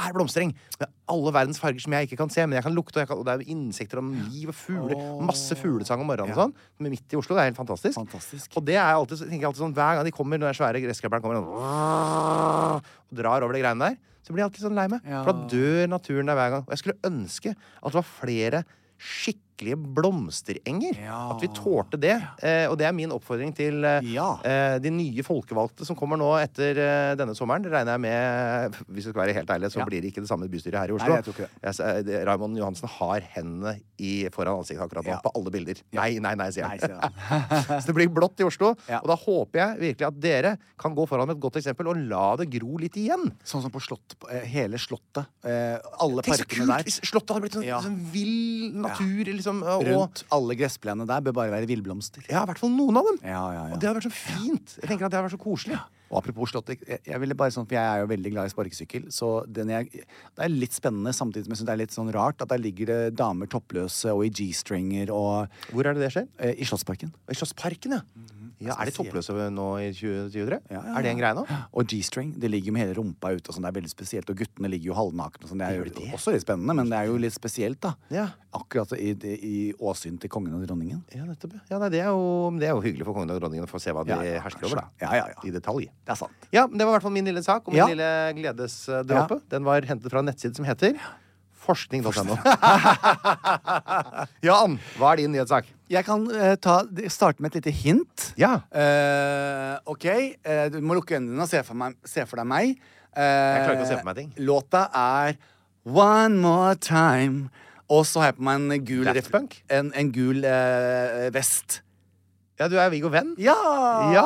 Speaker 3: svær blomstereng med alle verdens farger som jeg ikke kan se, men jeg kan lukte, og, jeg kan, og det er insekter og liv og fugler. Masse fuglesang om morgenen og sånn. Men midt i Oslo. Det er helt fantastisk.
Speaker 4: Fantastisk.
Speaker 3: Og det er jeg alltid, tenker jeg alltid sånn hver gang de kommer, når den svære gressklipperen kommer sånn, og, og drar over de greiene der, så blir jeg alltid sånn lei meg. For da dør naturen der hver gang. Og jeg skulle ønske at det var flere skikkelig skikkelige blomsterenger. At vi tålte det. Eh, og det er min oppfordring til eh,
Speaker 4: Ja.
Speaker 3: eh, de nye folkevalgte som kommer nå etter eh, denne sommeren. Det regner jeg med Hvis vi skal være helt ærlige, så
Speaker 4: Ja.
Speaker 3: blir det ikke det samme bystyret her i Oslo.
Speaker 4: Nei, jeg tror ikke det.
Speaker 3: Jeg sa- det- Raymond Johansen har hendene i, foran ansiktet akkurat nå,
Speaker 4: Ja.
Speaker 3: på alle bilder. Nei, nei, nei, sier
Speaker 4: Nei,
Speaker 3: han.
Speaker 4: sier han.
Speaker 3: så det blir blått i Oslo.
Speaker 4: Ja.
Speaker 3: Og da håper jeg virkelig at dere kan gå foran med et godt eksempel og la det gro litt igjen.
Speaker 4: Sånn som på slott, på, eh, hele Slottet. Eh, alle
Speaker 3: Tenk så
Speaker 4: parkene
Speaker 3: kult
Speaker 4: der.
Speaker 3: hvis Slottet hadde blitt en
Speaker 4: Ja.
Speaker 3: sånn vill natur. Liksom, og,
Speaker 4: Rundt alle gressplenene der bør bare være villblomster.
Speaker 3: Ja, i hvert fall noen av dem.
Speaker 4: Ja, ja, ja.
Speaker 3: Og det hadde vært så fint. Jeg tenker at det hadde vært så koselig.
Speaker 4: Og apropos Slottet, jeg, jeg ville bare sånn, for jeg er jo veldig glad i sparkesykkel, så den jeg, det er litt spennende, samtidig som jeg synes det er litt sånn rart at der ligger det damer toppløse og i G-stringer og
Speaker 3: Hvor er det det skjer?
Speaker 4: eh, I Slottsparken.
Speaker 3: I Slottsparken, ja.
Speaker 4: Mhm.
Speaker 3: ja. Er de toppløse nå i 2023?
Speaker 4: Ja, ja, ja.
Speaker 3: Er det en greie nå?
Speaker 4: Og G-string. Det ligger med hele rumpa ute. og Sånn, det er veldig spesielt. Og guttene ligger jo halvnakne. og Sånn, det er jo også litt spennende, men det er jo litt spesielt, da.
Speaker 3: Ja.
Speaker 4: Akkurat i, i, i åsyn til kongen og dronningen.
Speaker 3: Ja, nettopp. ja. Ja, nei, det, er jo, det er jo hyggelig for kongen og dronningen å få se hva de
Speaker 4: Ja, ja,
Speaker 3: hersker over. da.
Speaker 4: kanskje. Ja, ja, ja.
Speaker 3: I detalj.
Speaker 4: Det er sant.
Speaker 3: Ja, men Det var i hvert fall min lille sak og min
Speaker 4: Ja.
Speaker 3: lille gledesdråpe. Den var hentet fra en nettside som heter forskning.no. Jan, hva er din nyhetssak?
Speaker 4: Jeg kan eh, ta, starte med et lite hint.
Speaker 3: Ja.
Speaker 4: Eh, OK. eh, du må lukke øynene dine og se for, meg, se for deg meg. Eh,
Speaker 3: Jeg klarer ikke å se for meg ting.
Speaker 4: Låta er One More Time. Og så har jeg på meg en gul,
Speaker 3: Daft
Speaker 4: ref-
Speaker 3: Punk?
Speaker 4: en, en gul eh, vest.
Speaker 3: Ja, Du er Viggo Venn?
Speaker 4: Ja!
Speaker 3: Ja.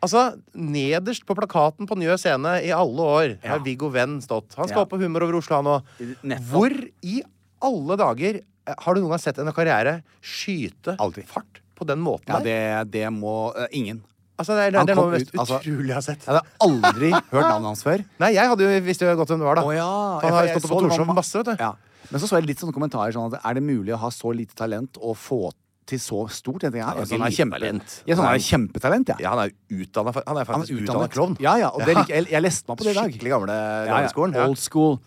Speaker 3: Altså, nederst på plakaten på Njø scene i alle år har Viggo Venn stått. Han skal
Speaker 4: Ja.
Speaker 3: opp på Humor over Oslo, han òg.
Speaker 4: Nettopp.
Speaker 3: Hvor i alle dager eh, har du noen gang sett en karriere skyte
Speaker 4: Aldri.
Speaker 3: fart på den måten
Speaker 4: Ja,
Speaker 3: der?
Speaker 4: det, det må eh, Ingen.
Speaker 3: Altså, det er, det er,
Speaker 4: Han
Speaker 3: det er
Speaker 4: kom
Speaker 3: noe mest
Speaker 4: ut, altså-
Speaker 3: utrolig jeg har sett.
Speaker 4: Jeg hadde aldri hørt navnet hans før.
Speaker 3: Nei, jeg hadde jo visst jo godt hvem det var, da.
Speaker 4: Å ja,
Speaker 3: Han
Speaker 4: for
Speaker 3: har
Speaker 4: jeg
Speaker 3: jo stått
Speaker 4: så
Speaker 3: på
Speaker 4: det var
Speaker 3: Torshov
Speaker 4: ma-
Speaker 3: masse, vet du.
Speaker 4: Ja. Men så så jeg litt sånne kommentarer sånn at er det mulig å ha så lite talent og få til så stort? Jeg tenker, ja,
Speaker 3: Det er
Speaker 4: altså,
Speaker 3: ikke
Speaker 4: han er
Speaker 3: lite
Speaker 4: kjempe,
Speaker 3: talent.
Speaker 4: ja, så han er kjempetalent, ja.
Speaker 3: Ja, han er utdanna Han er
Speaker 4: Han er
Speaker 3: faktisk utdanna
Speaker 4: utdannet
Speaker 3: klovn.
Speaker 4: Ja, ja, og det liker, jeg, jeg leste meg på det i dag.
Speaker 3: Skikkelig gamle
Speaker 4: Ja, ja.
Speaker 3: gamleskolen.
Speaker 4: eh, Old school.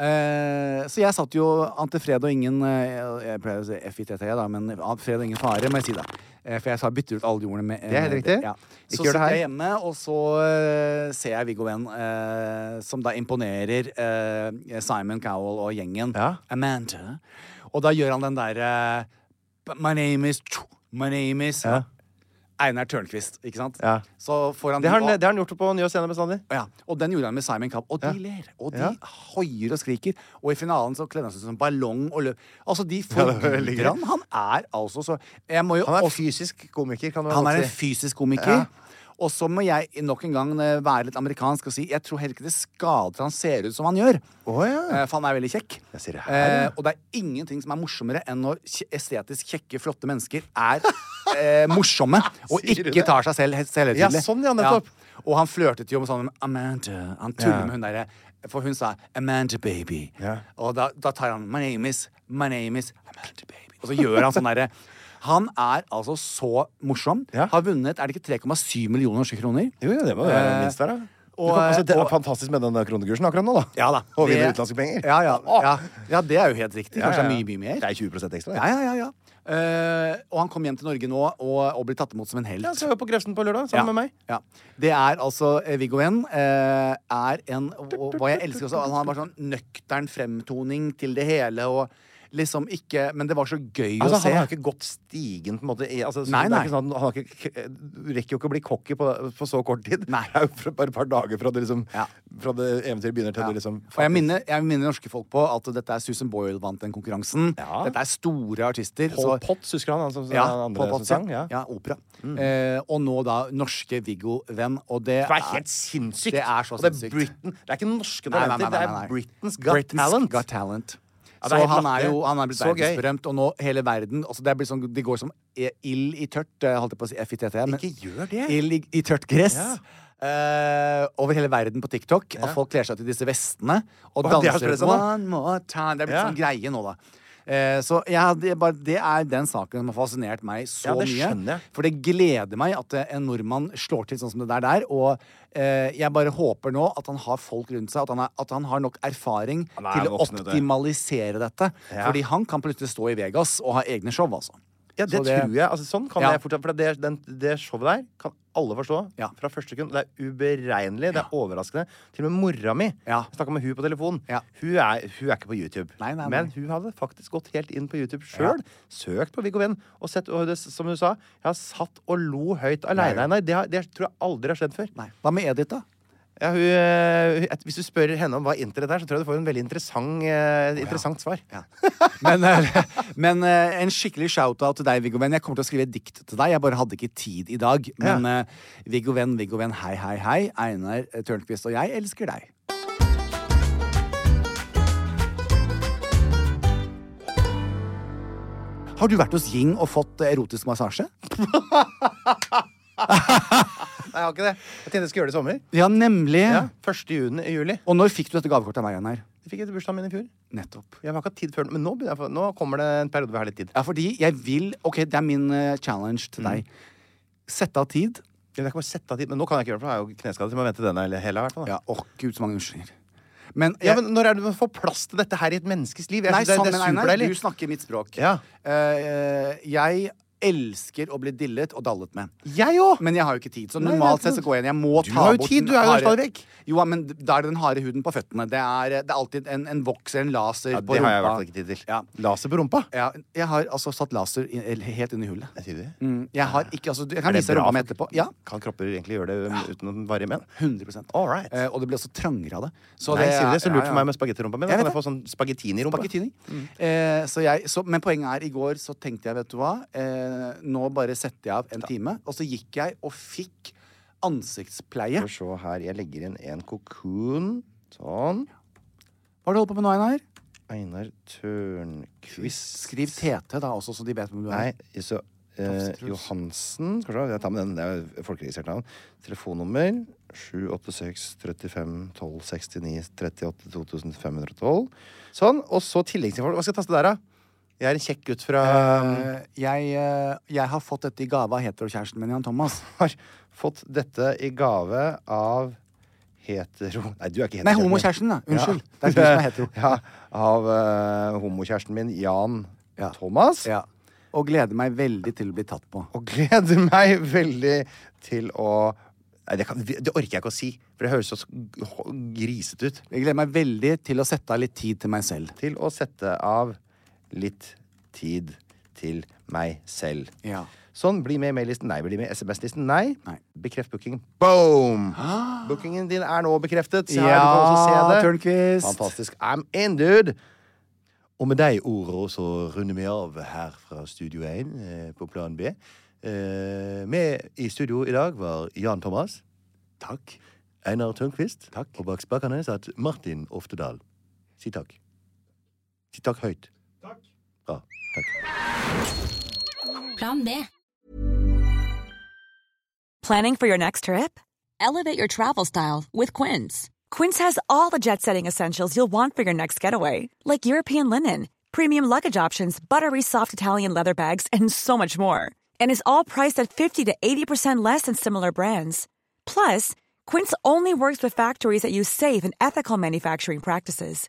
Speaker 4: Eh, så jeg satt jo ante fred og ingen eh, Jeg pleier å si FITT, da, men ante fred og ingen fare, må jeg si det. Eh, for jeg sa bytter ut alle de ordene med eh,
Speaker 3: Det er helt riktig.
Speaker 4: Ja.
Speaker 3: Ikke
Speaker 4: Så
Speaker 3: gjør det
Speaker 4: sitter
Speaker 3: her.
Speaker 4: jeg hjemme, og så eh, ser jeg Viggo Venn, eh, som da imponerer eh, Simon Cowell og gjengen.
Speaker 3: Ja.
Speaker 4: Amanda. Og da gjør han den derre My name is My name is
Speaker 3: Ja.
Speaker 4: Einar Tørnquist, ikke sant?
Speaker 3: Ja.
Speaker 4: Så får han
Speaker 3: Det har,
Speaker 4: de-
Speaker 3: han, det har han gjort på Njø scene bestandig.
Speaker 4: ja, og den gjorde han med Simon Cobb. Og de ler, og de
Speaker 3: Ja.
Speaker 4: hoier og skriker. Og i finalen så kledde han seg ut som en ballong og løp. Altså, de forvirrer han. Han er altså så jeg må jo
Speaker 3: Han er
Speaker 4: også-
Speaker 3: fysisk komiker, kan du
Speaker 4: han
Speaker 3: godt
Speaker 4: er en
Speaker 3: si.
Speaker 4: fysisk komiker. Og så må jeg nok en gang eh, være litt amerikansk og si jeg tror heller ikke det skader han ser ut som han gjør.
Speaker 3: Å, ja.
Speaker 4: Eh, For han er veldig kjekk. Eh,
Speaker 3: Jeg ser det her, ja.
Speaker 4: og det er ingenting som er morsommere enn når kje- estetisk kjekke, flotte mennesker er eh, morsomme og
Speaker 3: Sier du
Speaker 4: ikke
Speaker 3: det?
Speaker 4: tar seg selv helt
Speaker 3: Ja,
Speaker 4: selvhøytidelig.
Speaker 3: sånn, ja, nettopp.
Speaker 4: Og han flørtet jo med sånn Amanda. Han tuller
Speaker 3: Ja.
Speaker 4: med hun derre For hun sa 'Amanda, baby'.
Speaker 3: Ja.
Speaker 4: Og da, da tar han 'My name is My name is Amanda, baby'. Og så gjør han sånn derre Han er altså så morsom.
Speaker 3: Ja.
Speaker 4: Har vunnet er det ikke 3,7 millioner norske kroner.
Speaker 3: Jo, ja, det må det være
Speaker 4: Eh,
Speaker 3: minst der, da. Du
Speaker 4: og,
Speaker 3: kan- altså, det er
Speaker 4: og-
Speaker 3: fantastisk med den der kronekursen akkurat nå, da.
Speaker 4: Ja da.
Speaker 3: Og vinne
Speaker 4: det-
Speaker 3: utenlandske penger.
Speaker 4: Ja, ja,
Speaker 3: Åh!
Speaker 4: ja, ja, det er jo helt riktig.
Speaker 3: Ja,
Speaker 4: Kanskje
Speaker 3: ja, ja.
Speaker 4: det er mye, mye mer.
Speaker 3: Det er 20 ekstra.
Speaker 4: Ja, ja, ja, ja. Eh, og han kom hjem til Norge nå og, og ble tatt imot som en helt.
Speaker 3: Ja, så er vi på Grefsen på lørdag sammen
Speaker 4: Ja,
Speaker 3: med meg.
Speaker 4: Ja. Det er altså eh, Viggo Venn eh, er en og Hva jeg elsker også, han har bare sånn nøktern fremtoning til det hele og liksom ikke Men det var så gøy
Speaker 3: Altså,
Speaker 4: å
Speaker 3: han
Speaker 4: se.
Speaker 3: har ikke gått stigen på en måte i- altså, så
Speaker 4: Nei,
Speaker 3: det er
Speaker 4: nei.
Speaker 3: ikke sånn, at Han har ikke, du rekker jo ikke å bli cocky på, på så kort tid.
Speaker 4: Nei.
Speaker 3: Det er jo fra- bare et par dager fra det, liksom,
Speaker 4: Ja.
Speaker 3: fra det eventyret begynner til
Speaker 4: Ja.
Speaker 3: det liksom
Speaker 4: og jeg minner, jeg minner norske folk på at dette er Susan Boyle vant den konkurransen.
Speaker 3: Ja.
Speaker 4: Dette er store artister.
Speaker 3: Pol
Speaker 4: så-
Speaker 3: Potts, husker han? han som,
Speaker 4: Ja,
Speaker 3: han andre
Speaker 4: Pol Pot
Speaker 3: som sang?
Speaker 4: sin.
Speaker 3: Ja.
Speaker 4: Ja, opera. Eh, og nå da norske Viggo Venn, og det
Speaker 3: Det er helt sinnssykt!
Speaker 4: Det er så
Speaker 3: Og det
Speaker 4: sinnssykt.
Speaker 3: Britain, det er ikke norske
Speaker 4: Nei,
Speaker 3: talenter,
Speaker 4: nei, nei, nei, nei.
Speaker 3: det er Britain's Got
Speaker 4: Britain's
Speaker 3: Talent.
Speaker 4: Got Talent.
Speaker 3: Ja, det
Speaker 4: så
Speaker 3: er helt
Speaker 4: han er
Speaker 3: latterlig.
Speaker 4: jo han er blitt
Speaker 3: Så gøy.
Speaker 4: verdensberømt, og nå hele verden altså det, er blitt sånn, det går som e- ild i tørt eh, holdt jeg på å si FITT, men
Speaker 3: Ikke gjør det.
Speaker 4: Ild i, i tørt gress.
Speaker 3: Ja.
Speaker 4: eh, over hele verden på TikTok. At folk kler seg til disse vestene
Speaker 3: Å,
Speaker 4: og
Speaker 3: det har
Speaker 4: danser
Speaker 3: spredt seg nå.
Speaker 4: one more time. Det er blitt
Speaker 3: Ja.
Speaker 4: sånn greie nå, da. Eh, så jeg hadde bare, det er den saken som har fascinert meg så
Speaker 3: Ja, det
Speaker 4: mye.
Speaker 3: skjønner jeg.
Speaker 4: For det gleder meg at eh, en nordmann slår til sånn som det der der. Og eh, jeg bare håper nå at han har folk rundt seg, at han, er, at han har nok erfaring
Speaker 3: Han er
Speaker 4: til å
Speaker 3: voksen, vet du.
Speaker 4: optimalisere dette.
Speaker 3: Ja.
Speaker 4: Fordi han kan plutselig stå i Vegas og ha egne show, altså.
Speaker 3: Ja, det,
Speaker 4: Så det-
Speaker 3: tror jeg. Altså, sånn kan
Speaker 4: Ja.
Speaker 3: jeg fortsatt For det, den, det showet der kan alle forstå fra første sekund. Det er uberegnelig, det er overraskende. Til og med mora mi
Speaker 4: Ja.
Speaker 3: Jeg snakka med hun på telefon.
Speaker 4: Ja.
Speaker 3: Hun, er, hun er ikke på YouTube.
Speaker 4: Nei, nei, nei.
Speaker 3: Men hun hadde faktisk gått helt inn på YouTube sjøl. Søkt på Viggo Venn. Og sett, og det, som hun sa, jeg har satt og lo høyt aleine. Nei, det, har- det tror jeg aldri har skjedd før.
Speaker 4: Nei. Hva med Edith, da?
Speaker 3: Ja, hun, eh, hun- hvis du spør henne om hva internett er, så tror jeg du får en veldig interessant, eh, interessant svar.
Speaker 4: Men, eh, men eh, en skikkelig shout-out til deg, Viggo Venn. Jeg kommer til å skrive et dikt til deg. Jeg bare hadde ikke tid i dag. Men eh, Viggo Venn, Viggo Venn, hei, hei, hei. Einar eh, Tørnquist og jeg elsker deg. Har du vært hos Ying og fått eh, erotisk massasje?
Speaker 3: Nei, jeg har ikke det. Jeg tenkte jeg skulle gjøre det i sommer.
Speaker 4: Ja, nemlig.
Speaker 3: Ja, 1. Juni, juli.
Speaker 4: Og når fikk du dette gavekortet av meg, Einar?
Speaker 3: Det fikk jeg til bursdagen min i fjor.
Speaker 4: Nettopp.
Speaker 3: Jeg har ikke hatt tid før, men nå, begynner jeg, å få- nå kommer det en periode hvor jeg har litt tid.
Speaker 4: Ja, fordi jeg vil Ok, det er min eh, challenge til deg. Sette av tid.
Speaker 3: Jeg kan bare sette av tid, men nå kan jeg ikke gjøre det, for jeg har jo kneskade. Så jeg må vente denne hele, hele, i hvert fall. da.
Speaker 4: Ja, åh, gud, så mange unnskyldninger. Men,
Speaker 3: Ja,
Speaker 4: jeg-
Speaker 3: men Når er det man får plass til dette her i et menneskes liv? Jeg
Speaker 4: Nei,
Speaker 3: synes det,
Speaker 4: sånn,
Speaker 3: det
Speaker 4: men
Speaker 3: er
Speaker 4: Einar, du
Speaker 3: superdeilig.
Speaker 4: snakker mitt språk.
Speaker 3: Ja.
Speaker 4: Eh, jeg elsker å bli dillet og dallet med.
Speaker 3: Jeg òg!
Speaker 4: Men jeg har jo ikke tid, så
Speaker 3: Nei,
Speaker 4: normalt
Speaker 3: det er
Speaker 4: sett så
Speaker 3: sant.
Speaker 4: går jeg inn. Jeg må
Speaker 3: Du
Speaker 4: ta
Speaker 3: har jo
Speaker 4: bort
Speaker 3: tid,
Speaker 4: den
Speaker 3: du er jo her
Speaker 4: harde-
Speaker 3: stadig vekk.
Speaker 4: Jo, men da er det den harde huden på føttene. Det er, det er alltid en, en voks eller en laser
Speaker 3: Ja,
Speaker 4: på rumpa.
Speaker 3: det har jeg i hvert fall ikke tid til.
Speaker 4: Ja.
Speaker 3: Laser på rumpa.
Speaker 4: Ja, jeg har altså satt laser i, eller helt inn i hullet.
Speaker 3: Er det
Speaker 4: Mm, jeg har ikke, altså, jeg
Speaker 3: bra
Speaker 4: kan vise rumpa mi
Speaker 3: for-
Speaker 4: etterpå. Ja,
Speaker 3: Kan kropper egentlig gjøre det um, uten å være i men?
Speaker 4: 100
Speaker 3: All right.
Speaker 4: Eh, Og det blir også trangere av det. Så
Speaker 3: Nei,
Speaker 4: det
Speaker 3: sier du
Speaker 4: er-
Speaker 3: det? Så
Speaker 4: ja,
Speaker 3: lurt
Speaker 4: ja.
Speaker 3: for meg med spagettirumpa mi. Da
Speaker 4: Jeg
Speaker 3: kan
Speaker 4: vet
Speaker 3: jeg få sånn spagettini-rumpa.
Speaker 4: Spagettini.
Speaker 3: Mm.
Speaker 4: Eh, så jeg, så, men poenget er, i går så tenkte jeg, vet du hva eh, Nå bare setter jeg av en time. Og så gikk jeg og fikk ansiktspleie.
Speaker 3: Skal vi se her. Jeg legger inn en kokoon. Sånn.
Speaker 4: Hva har du holdt på med nå, Einar?
Speaker 3: Einar Tørnquist.
Speaker 4: Skriv TT, da, også, så de vet hvem du
Speaker 3: Nei,
Speaker 4: er.
Speaker 3: så eh, Johansen Skal vi se, jeg tar med den. Det er jo folkeregistrert navn. Telefonnummer 786 35 12 69 38 2512. Sånn. Og så tilleggsinformasjon. Hva skal jeg taste der, da? Jeg er en kjekk gutt fra
Speaker 4: Eh, jeg, eh, jeg har fått dette i gave av heterokjæresten min, Jan Thomas.
Speaker 3: Har fått dette i gave av hetero... Nei, du er ikke hetero.
Speaker 4: Nei, homokjæresten, da. Unnskyld.
Speaker 3: Ja.
Speaker 4: Det er du som er hetero.
Speaker 3: Ja, av eh, homokjæresten min, Jan
Speaker 4: Ja.
Speaker 3: Thomas.
Speaker 4: Ja. Og gleder meg veldig til å bli tatt på.
Speaker 3: Og gleder meg veldig til å Nei, det, kan, det orker jeg ikke å si, for det høres så s- grisete ut.
Speaker 4: Jeg gleder meg veldig til å sette av litt tid til meg selv.
Speaker 3: Til å sette av litt tid til meg selv.
Speaker 4: Ja.
Speaker 3: Sånn. Bli med i mail-listen. Nei. Bli med i SMS-listen. Nei.
Speaker 4: Nei.
Speaker 3: Bekreft booking. Boom! Bookingen din er nå bekreftet. Se her, du kan også
Speaker 4: Ja,
Speaker 3: se det.
Speaker 4: Tørnquist.
Speaker 3: Fantastisk. I'm in, dude! Og med de ordene så runder vi av her fra Studio 1 eh, på Plan B. Eh, med i studio i dag var Jan Thomas,
Speaker 4: Takk.
Speaker 3: Einar Tørnquist,
Speaker 4: Takk.
Speaker 3: og bak spakene satt Martin Oftedal. Si takk. Si takk høyt. Takk. Bra. Takk.
Speaker 8: Plan B.
Speaker 1: Planning for your next trip?
Speaker 8: Elevate your travel style with Quince.
Speaker 1: Quince has all the jet setting essentials you'll want for your next getaway, like European linen, premium luggage options, buttery soft Italian leather bags, and so much more. And is all priced at 50 to 80% less than similar brands. Plus, Quince only works with factories that use safe and ethical manufacturing practices.